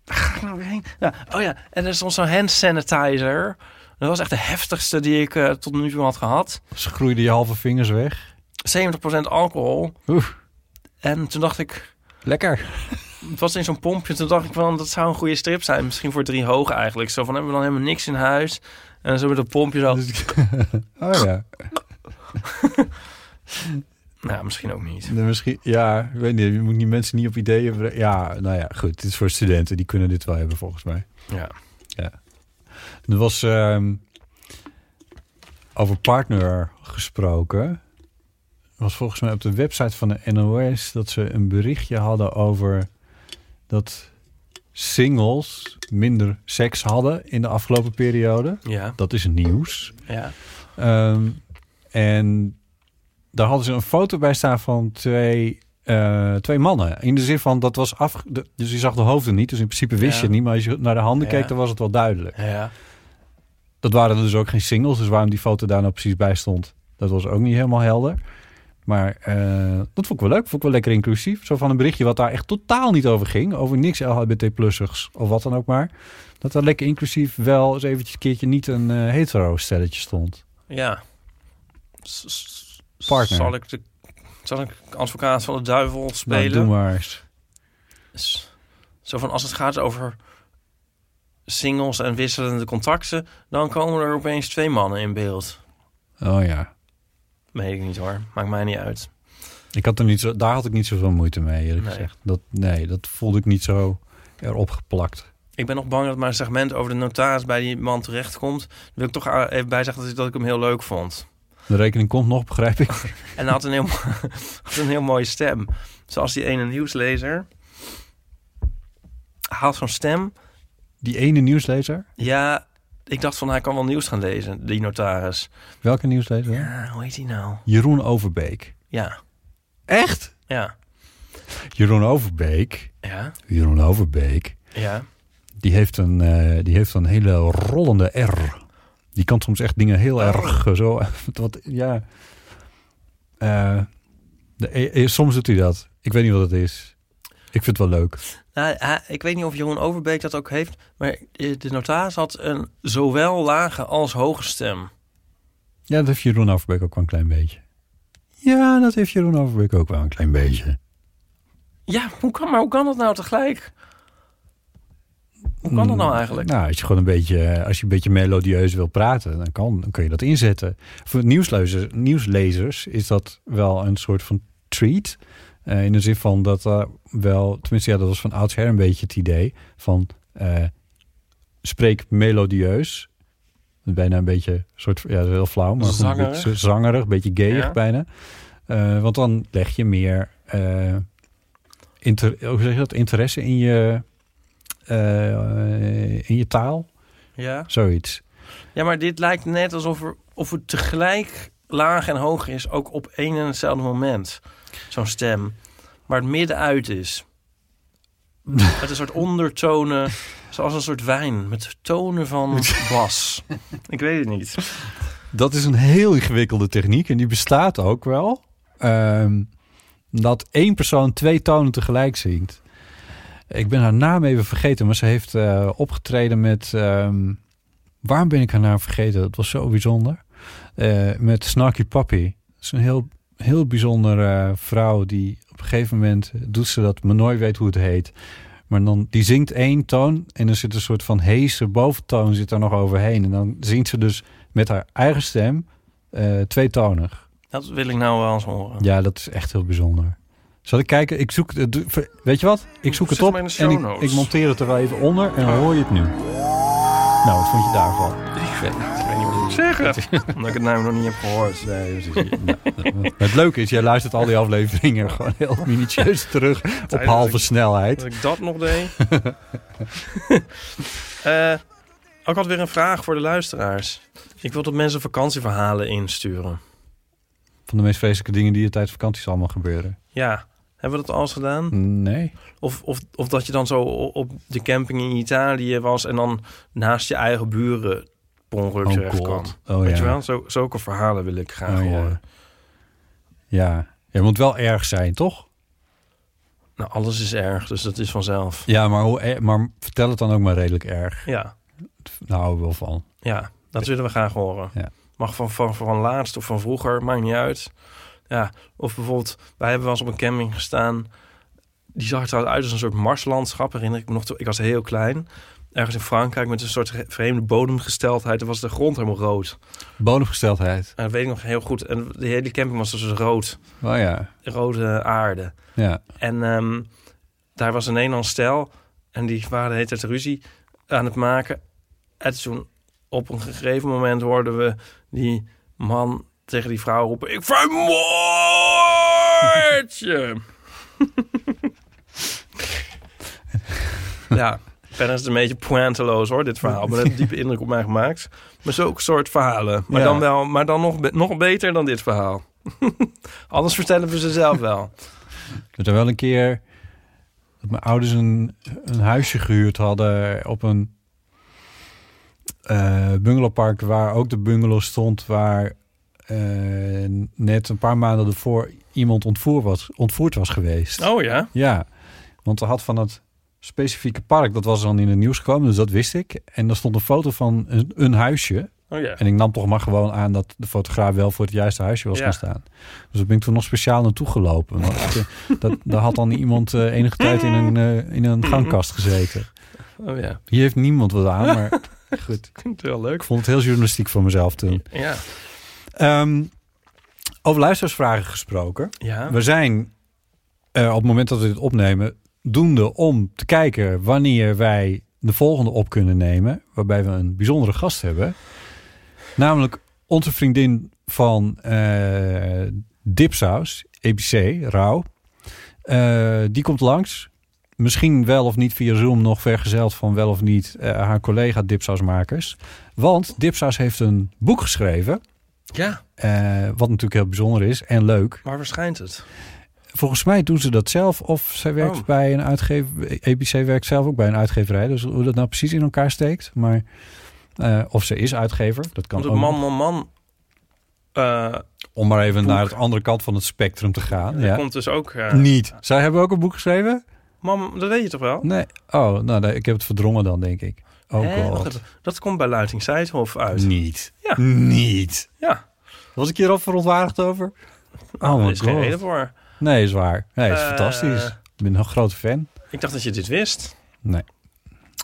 Waar ga ik nou weer heen? Ja, oh ja, en er stond zo'n hand sanitizer. Dat was echt de heftigste die ik eh, tot nu toe had gehad.
Ze groeiden je halve vingers weg.
70% alcohol.
Oeh.
En toen dacht ik,
Lekker.
het was in zo'n pompje. Toen dacht ik van, dat zou een goede strip zijn. Misschien voor drie hoog eigenlijk. Zo van, hebben we dan helemaal niks in huis. En zo met een pompje zo.
Dus- <laughs> Oh ja.
Nou, misschien ook niet.
Nee, misschien, ja, ik weet niet. Je moet die mensen niet op ideeën brengen. Ja, nou ja, goed. Dit is voor studenten. Die kunnen dit wel hebben, volgens mij.
Ja.
Er was ehm, over partner gesproken. Er was volgens mij op de website van de NOS dat ze een berichtje hadden over dat singles minder seks hadden in de afgelopen periode.
Ja.
Dat is nieuws.
Ja.
Ehm, en daar hadden ze een foto bij staan van twee, eh, twee mannen. In de zin van, dat was af... de- dus je zag de hoofden niet, dus in principe wist
Ja.
je het niet. Maar als je naar de handen
Ja.
keek, dan was het wel duidelijk.
Ja.
Dat waren dus ook geen singles, dus waarom die foto daar nou precies bij stond... dat was ook niet helemaal helder. Maar eh, dat vond ik wel leuk, vond ik wel lekker inclusief. Zo van een berichtje wat daar echt totaal niet over ging. Over niks LHBT-plussers of wat dan ook maar. Dat daar lekker inclusief wel eens eventjes een keertje niet een eh, hetero-stelletje stond. Oh,
Ja. S- s-
Partner.
Zal ik de... Zal ik advocaat van de duivel
Nou,
spelen?
doe maar eens.
S- Zo van als het gaat over singles en wisselende contacten... dan komen er opeens twee mannen in beeld.
Oh ja.
Weet ik niet hoor. Maakt mij niet uit.
Ik had er niet zo, daar had ik niet zoveel moeite mee, eerlijk
Nee.
gezegd. Dat, nee, dat voelde ik niet zo erop geplakt.
Ik ben nog bang dat mijn segment over de notaris bij die man terechtkomt. Daar wil ik toch a- even bij zeggen dat ik, dat ik hem heel leuk vond.
De rekening komt nog, begrijp ik. <laughs>
En hij had een heel, mo- <laughs> had een heel mooie stem. Zoals die ene nieuwslezer. Hij had zo'n stem.
Die ene nieuwslezer.
Ja, ik dacht van hij kan wel nieuws gaan lezen, die notaris.
Welke nieuwslezer?
Ja, hoe heet hij nou?
Jeroen Overbeek.
Ja,
Echt?
ja,
Jeroen Overbeek.
ja,
Jeroen Overbeek.
ja.
Die heeft een, eh, die heeft een hele rollende R. Die kan soms echt dingen heel erg eh, zo. <laughs> Wat, ja. Eh, de, eh, eh, soms doet hij dat. Ik weet niet wat het is. Ik vind het wel leuk.
Nou, hij- ik weet niet of Jeroen Overbeek dat ook heeft, maar eh, de notaris had een zowel lage als hoge stem.
Ja, dat heeft Jeroen Overbeek ook wel een klein beetje. Ja, dat heeft Jeroen Overbeek ook wel een klein beetje.
Ja, hoe kan, maar hoe kan dat nou tegelijk? Hoe kan dat nou eigenlijk?
Nou, als je gewoon een beetje, eh, als je een beetje melodieus wil praten, dan, kan, dan kun je dat inzetten. Voor nieuwslezers, nieuwslezers is dat wel een soort van treat. Eh, in de zin van dat eh, wel, tenminste, ja, dat was van oudsher een beetje het idee van eh, spreek melodieus. Bijna een beetje soort, ja, heel flauw, maar goed, een
Zangerig.
beetje zangerig, een beetje gayig
Ja.
bijna. Eh, want dan leg je meer eh, inter, hoe zeg je dat? interesse in je, eh, in je taal.
Ja.
Zoiets.
ja, maar dit lijkt net alsof er, of het tegelijk laag en hoog is, ook op één en hetzelfde moment. Zo'n stem. Waar het midden uit is. Met een soort ondertonen, zoals een soort wijn. Met tonen van bas. Ik weet het niet.
Dat is een heel ingewikkelde techniek en die bestaat ook wel. Ehm, dat één persoon twee tonen tegelijk zingt. Ik ben haar naam even vergeten, maar ze heeft eh, opgetreden met. ehm, waarom ben ik haar naam vergeten? Dat was zo bijzonder. Eh, met Snarky Pappy. Dat is een heel, heel bijzondere eh, vrouw die op een gegeven moment doet ze dat, maar nooit weet hoe het heet. Maar dan, die zingt één toon en er zit een soort van heese boventoon zit er nog overheen. En dan zingt ze dus met haar eigen stem eh tweetonig.
Dat wil ik nou wel eens horen.
Ja, dat is echt heel bijzonder. Zal ik kijken? Ik zoek het. Weet je wat? Ik zoek
Zet
het op
maar in de
en
show
ik,
notes. Oh.
ik monteer het er wel even onder en dan hoor je het nu. Nou, wat vond je daarvan?
Ik weet, ik weet niet wat ik moet zeggen. Omdat ik het nou nog niet heb gehoord.
<laughs> Het leuke is, jij luistert al die afleveringen gewoon heel minutieus terug op
dat
halve
ik-
snelheid.
Dat ik dat nog <laughs> deed. Eh, ook had weer een vraag voor de luisteraars. Ik wil dat mensen vakantieverhalen insturen.
Van de meest vreselijke dingen die er tijdens vakanties allemaal gebeuren.
Ja, hebben we dat al eens gedaan?
Nee.
Of, of, of dat je dan zo o- op de camping in Italië was... en dan naast je eigen buren per ongeluk
Oh,
terecht
God.
kwam.
Oh,
Weet
ja.
je wel? Zo, zulke verhalen wil ik graag
Oh, ja.
horen.
Ja. Je moet wel erg zijn, toch?
Nou, alles is erg, dus dat is vanzelf.
Ja, maar, hoe, eh, maar vertel het dan ook maar redelijk erg.
Ja,
Daar houden we wel van.
ja dat willen we graag horen.
Ja.
Mag van, van, van laatst of van vroeger, maakt niet uit. Ja, of bijvoorbeeld, wij hebben wel eens op een camping gestaan. Die zag er trouwens uit als een soort marslandschap, herinner ik me nog. toen- Ik was heel klein. Ergens in Frankrijk met een soort ge- vreemde bodemgesteldheid. Dan was de grond helemaal rood.
Bodemgesteldheid.
En dat weet ik nog heel goed. En de hele camping was dus rood.
Oh ja.
Rode aarde.
Ja.
En ehm, daar was een Nederlands stel. En die waren de hele tijd ruzie aan het maken. En toen op een gegeven moment hoorden we die man tegen die vrouw roepen... Ik vermoord je! <laughs> ja, verder is het een beetje pointeloos hoor, dit verhaal. Maar dat heeft diepe indruk op mij gemaakt. Maar zo'n soort verhalen. Maar
Ja.
dan, wel, maar dan nog, be- nog beter dan dit verhaal. <laughs> Anders vertellen we ze zelf wel.
Ik heb er wel een keer dat mijn ouders een, een huisje gehuurd hadden op een eh, bungalowpark waar ook de bungalow stond waar eh, net een paar maanden ervoor iemand ontvoerd was, ontvoerd was geweest.
Oh ja?
Ja, want er had van dat specifieke park, dat was dan in het nieuws gekomen, dus dat wist ik. En daar stond een foto van een, een huisje.
Oh ja.
En ik nam toch maar gewoon aan dat de fotograaf wel voor het juiste huisje was
Ja.
gaan staan. Dus daar ben ik toen nog speciaal naartoe
<laughs>
gelopen. Want eh, dat, daar had dan iemand eh, enige tijd in een, eh, in een gangkast gezeten.
Oh ja,
Hier heeft niemand wat aan,
<laughs>
maar goed.
klinkt wel leuk.
Ik vond het heel journalistiek van mezelf toen.
Ja.
Ehm, over luisteraarsvragen gesproken.
ja.
We zijn eh, op het moment dat we dit opnemen, doende om te kijken wanneer wij de volgende op kunnen nemen. Waarbij we een bijzondere gast hebben. Namelijk onze vriendin van eh Dipsaus, EBC, Rauw. Eh, die komt langs. Misschien wel of niet via Zoom nog vergezeld van wel of niet eh, haar collega Dipsausmakers. Want Dipsaus heeft een boek geschreven.
ja,
eh, wat natuurlijk heel bijzonder is en leuk.
maar waar schijnt het?
Volgens mij doen ze dat zelf. Of zij werkt
Oh.
bij een uitgever. EBC werkt zelf ook bij een uitgeverij. Dus hoe dat nou precies in elkaar steekt. Maar, eh, of ze is uitgever. Dat kan
Moet
ook.
een man, man, man. eh,
Om maar even
boek.
naar de andere kant van het spectrum te gaan.
Er
Ja.
komt dus ook... eh,
Niet. Zij hebben ook een boek geschreven?
Mam, dat weet je toch wel?
Nee. Oh, nou, nee, ik heb het verdrongen dan, denk ik. Oh
Hè? Wacht
god.
even. Dat komt bij Luiting Seidhof uit.
Niet.
Ja.
Niet.
Ja,
Was ik hier al verontwaardigd over? Oh
er
my
Nou, is geen reden
god.
voor.
Nee, is waar. Nee, is
Eh.
fantastisch. Ik ben een grote fan.
Ik dacht dat je dit wist.
Nee.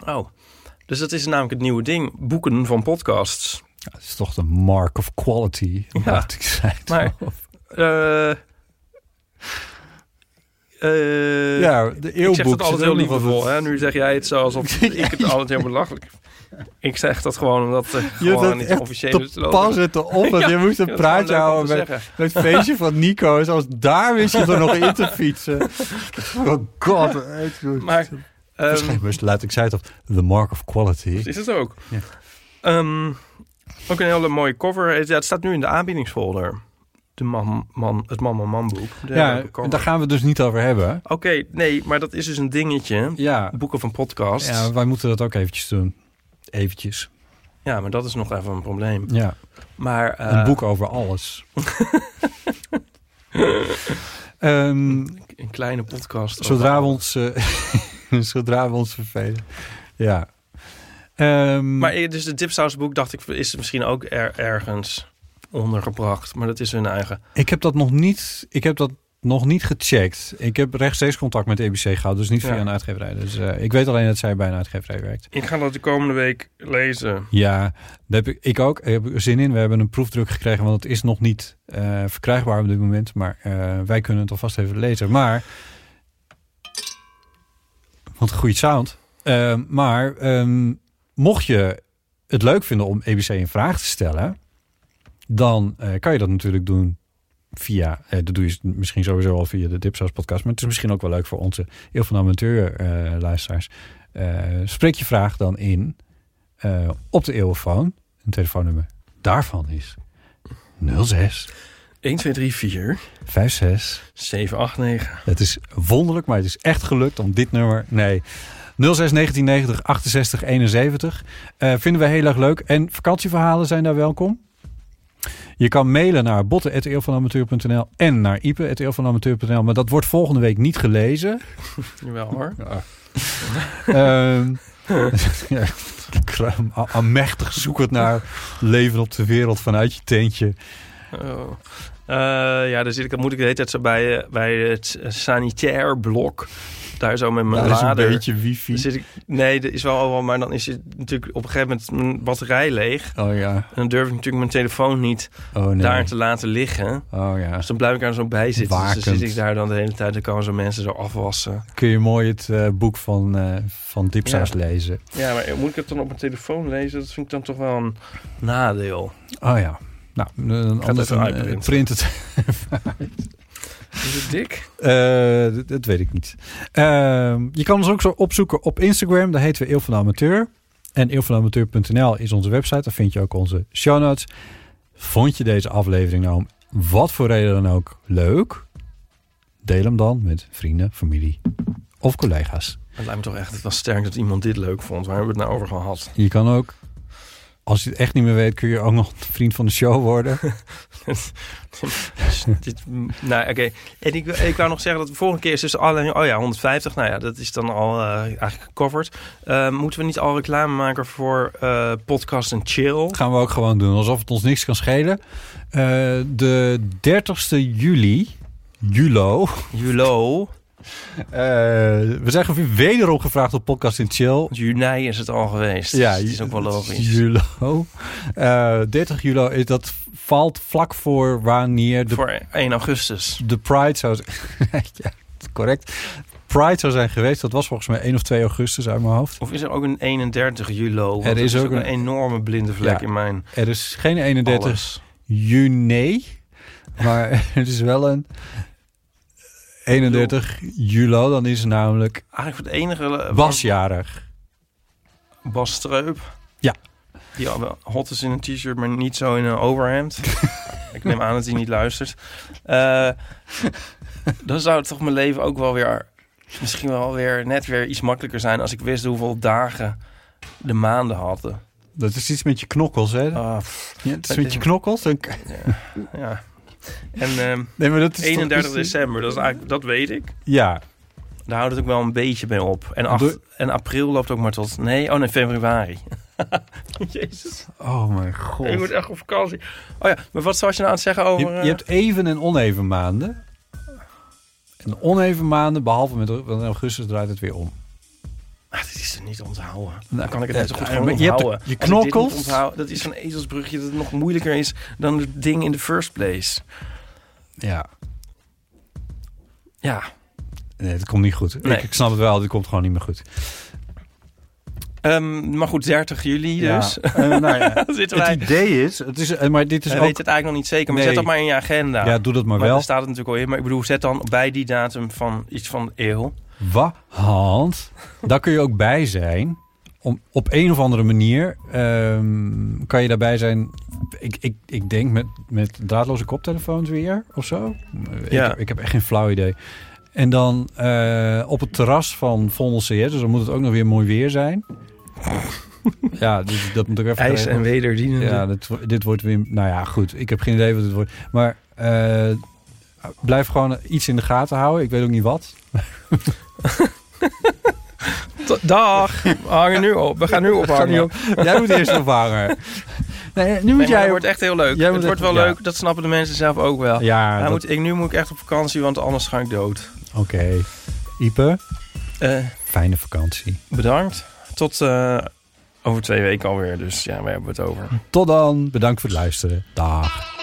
Oh, dus dat is namelijk het nieuwe ding. Boeken van podcasts.
Ja, het is toch de mark of quality.
Ja.
Wat ik zei.
Maar- Eh, eh,
Ja, de
ik zeg dat
eeuwboek.
altijd heel liefdevol. Hè? Nu zeg jij het
<laughs>
zo alsof ik het altijd heel belachelijk... Ik zeg dat gewoon omdat eh
Je
gewoon
bent
niet officieel
echt te pas en te
<laughs>
op. want
Ja,
je moest een
dat is gewoon
praatje
leuk om te
houden met,
zeggen.
met het feestje van Nico. Zoals daar wist je er nog in te fietsen.
<laughs>
Oh god. echt, joh.
Maar ehm,
Waarschijnlijk best laat ik zei het op. The mark of quality.
is het ook.
Ja.
Ehm, ook een hele mooie cover. Ja, het staat nu in de aanbiedingsfolder. De man, man, het Man Man Man boek. De
Ja,
leuke cover.
daar gaan we het dus niet over hebben.
Oké, nee, maar dat is dus een dingetje.
Ja,
Boeken van podcasts.
ja,
Ja.
wij moeten dat ook eventjes doen. Eventjes.
maar dat is nog even een probleem.
Ja,
Maar eh,
een boek over
<laughs>
alles. Ehm
een kleine podcast.
Zodra
over-
we ons, eh, <laughs> zodra we ons vervelen. Ja. Ehm,
Maar eh, dus de dipsausboek dacht ik is misschien ook er, ergens ondergebracht. Maar dat is hun eigen.
ik heb dat nog niet. Ik heb dat nog niet gecheckt. Ik heb rechtstreeks contact met EBC gehouden, dus niet via
Ja.
een uitgeverij. Dus eh, ik weet alleen dat zij bij een uitgeverij werkt.
Ik ga dat de komende week lezen.
Ja, daar heb ik, ik ook. Daar heb ik zin in. We hebben een proefdruk gekregen, want het is nog niet eh, verkrijgbaar op dit moment. Maar eh, wij kunnen het alvast even lezen. Maar. Wat een goede sound. Ehm, maar ehm, mocht je het leuk vinden om EBC een vraag te stellen, dan eh, kan je dat natuurlijk doen via. eh, dat doe je misschien sowieso al via de Dipsaus podcast. Maar het is misschien ook wel leuk voor onze heel van de amateur eh, luisteraars. Eh, spreek je vraag dan in eh, op de eeuwenfoon. Een telefoonnummer daarvan is 06
1, 2, 3, 4,
56.
7, 8, 9.
Het is wonderlijk, maar het is echt gelukt om dit nummer. Nee. 06 1990 68 71. Eh, vinden we heel erg leuk. En vakantieverhalen zijn daar welkom. Je kan mailen naar botten.eeuwvanamateur.nl en naar ipe.eeuwvanamateur.nl. Maar dat wordt volgende week niet gelezen.
Jawel hoor.
Ehm ja, kruim- a- Amechtig zoekend naar leven op de wereld vanuit je tentje.
Oh. Eh, ja, daar zit ik, dan moet ik de hele tijd zo bij, eh, bij het eh, sanitair blok. Daar zo met mijn
Daar is een
lader.
beetje
Dan
wifi.
zit ik, nee, dat is wel overal, maar dan is het natuurlijk op een gegeven moment mijn batterij leeg.
Oh ja.
En dan durf ik natuurlijk mijn telefoon niet
Oh nee.
daar te laten liggen.
Oh ja.
Dus dan blijf ik daar zo bij zitten. Dus dan
Wakend.
zit ik daar dan de hele tijd. Dan komen zo mensen zo afwassen.
Kun je mooi het eh, boek van, eh van Dipsaus
Ja.
lezen.
Ja, maar moet ik het dan op mijn telefoon lezen? Dat vind ik dan toch wel een nadeel.
Oh ja. Nou, dan anders
even
dan, eh,
uitprinten.
print het. <laughs>
Is het dik?
Eh, dat- dat weet ik niet. Ehm, je kan ons ook zo opzoeken op Instagram. Daar heten we Eeuw van de Amateur. En eeuwvanamateur.nl is onze website. Daar vind je ook onze show notes. Vond je deze aflevering nou om wat voor reden dan ook leuk? Deel hem dan met vrienden, familie of collega's.
Het lijkt me toch echt, het was sterk dat iemand dit leuk vond. Waar hebben we het nou over gehad?
Je kan ook, als je het echt niet meer weet, kun je ook nog <laughs> vriend van de show worden.
Dus dit, mm, nou, oké. En ik, ik wou nog zeggen dat de volgende keer is dus alleen... Oh ja, 150. Nou ja, dat is dan al eh, eigenlijk gecoverd. Eh, moeten we niet al reclame maken voor eh, podcast en chill?
Dat gaan we ook gewoon doen, alsof het ons niks kan schelen. Eh, de 30ste juli, julo,
Julo.
Eh, we zijn ge- wederom gevraagd op podcast in chill.
Juni is het al geweest. Ja, dus het is ook wel logisch.
Julo. Eh, 30 juli, is- dat valt vlak voor wanneer de,
Voor 1 augustus.
de Pride zou zijn. <laughs> ja, correct. Pride zou zijn geweest. Dat was volgens mij 1 of 2 augustus uit mijn hoofd.
Of is er ook een 31 juli? Want
Er
dat
is ook
ook een,
een-
enorme blinde vlek
Ja.
in mijn
Er is geen 31
alles.
juni. Maar <laughs> het is wel een 31 juli. Dan is het namelijk
Eigenlijk voor het enige... eh,
Basjarig.
Bas Streup.
Ja.
Die al wel hot is in een t-shirt, maar niet zo in een
<laughs>
overhemd. ik neem aan dat hij niet luistert. Eh, dan zou toch mijn leven ook wel weer... Misschien wel weer net weer iets makkelijker zijn... als ik wist hoeveel dagen de maanden hadden.
Dat is iets met je knokkels, hè?
Ah, pff,
Ja, het is met je knokkels. Dan-
ja. En ehm,
Nee, maar dat is toch-
31 december, dat, is eigenlijk, dat weet ik.
Ja,
Daar houdt het ook wel een beetje mee op. En, acht-
Doe-
en april loopt ook maar tot... Nee, oh nee,
<laughs>
februari. Jezus.
Oh mijn god.
Ik moet echt op vakantie. Oh ja, maar wat was je nou aan het zeggen
Je,
over...
je
eh,
hebt even en oneven maanden. En de oneven maanden, behalve met want in augustus, draait het weer om.
Ah, dit is er niet te onthouden.
Nou,
Dan kan ik het
eh,
net zo goed
eh,
gewoon
maar je hebt
onthouden.
de- je
Als ik dit niet
knokkels.
onthoud, dat is zo'n ezelsbrugje dat het nog moeilijker is dan het ding in the first place.
Ja.
Ja.
Nee, dat komt niet goed.
Nee.
Ik, ik snap het wel, dit komt gewoon niet meer goed.
Ehm, maar goed, 30 juli dus. <laughs>
Ja. Eh, nou ja.
Dan zitten
Het
wij...
idee is, het is eh, maar dit is
Hij
ook...
weet het eigenlijk nog niet zeker, maar
Nee.
zet dat maar in je agenda.
Ja, doe dat maar, wel.
daar staat het natuurlijk al in. Maar ik bedoel, zet dan bij die datum van iets van de eeuw.
Wat? Hand. Daar kun je ook bij zijn. Om, op een of andere manier ehm, kan je daarbij zijn. Ik, ik, ik denk met, met draadloze koptelefoons weer of zo.
Ja.
Ik, heb- ik heb echt geen flauw idee. En dan eh, op het terras van Vondel CS. Dus dan moet het ook nog weer mooi weer
<laughs>
zijn. ja, dus dat moet ik even
IJs
geregeld
en wederdienende.
ja,
Ja,
dit, wo- dit wordt weer. Nou ja, goed. Ik heb geen idee wat het wordt. Maar eh, blijf gewoon iets in de gaten houden. Ik weet ook niet wat.
Dag, we hangen nu op. We gaan nu ophangen.
Kan niet op. Jij moet eerst ophangen. <laughs> Nee, nu moet
Nee, maar
jij
dat wordt echt heel leuk.
Jij
Het
moet
wordt
echt-
wel
ja.
leuk, dat snappen de mensen zelf ook wel.
Ja,
Hij
dat-
moet, ik, nu moet ik echt op vakantie, want anders ga ik dood.
oké. Ipe,
Eh,
fijne vakantie.
bedankt. Tot eh, over twee weken alweer. Dus ja, we hebben het over.
Tot dan. Bedankt voor het luisteren. Dag.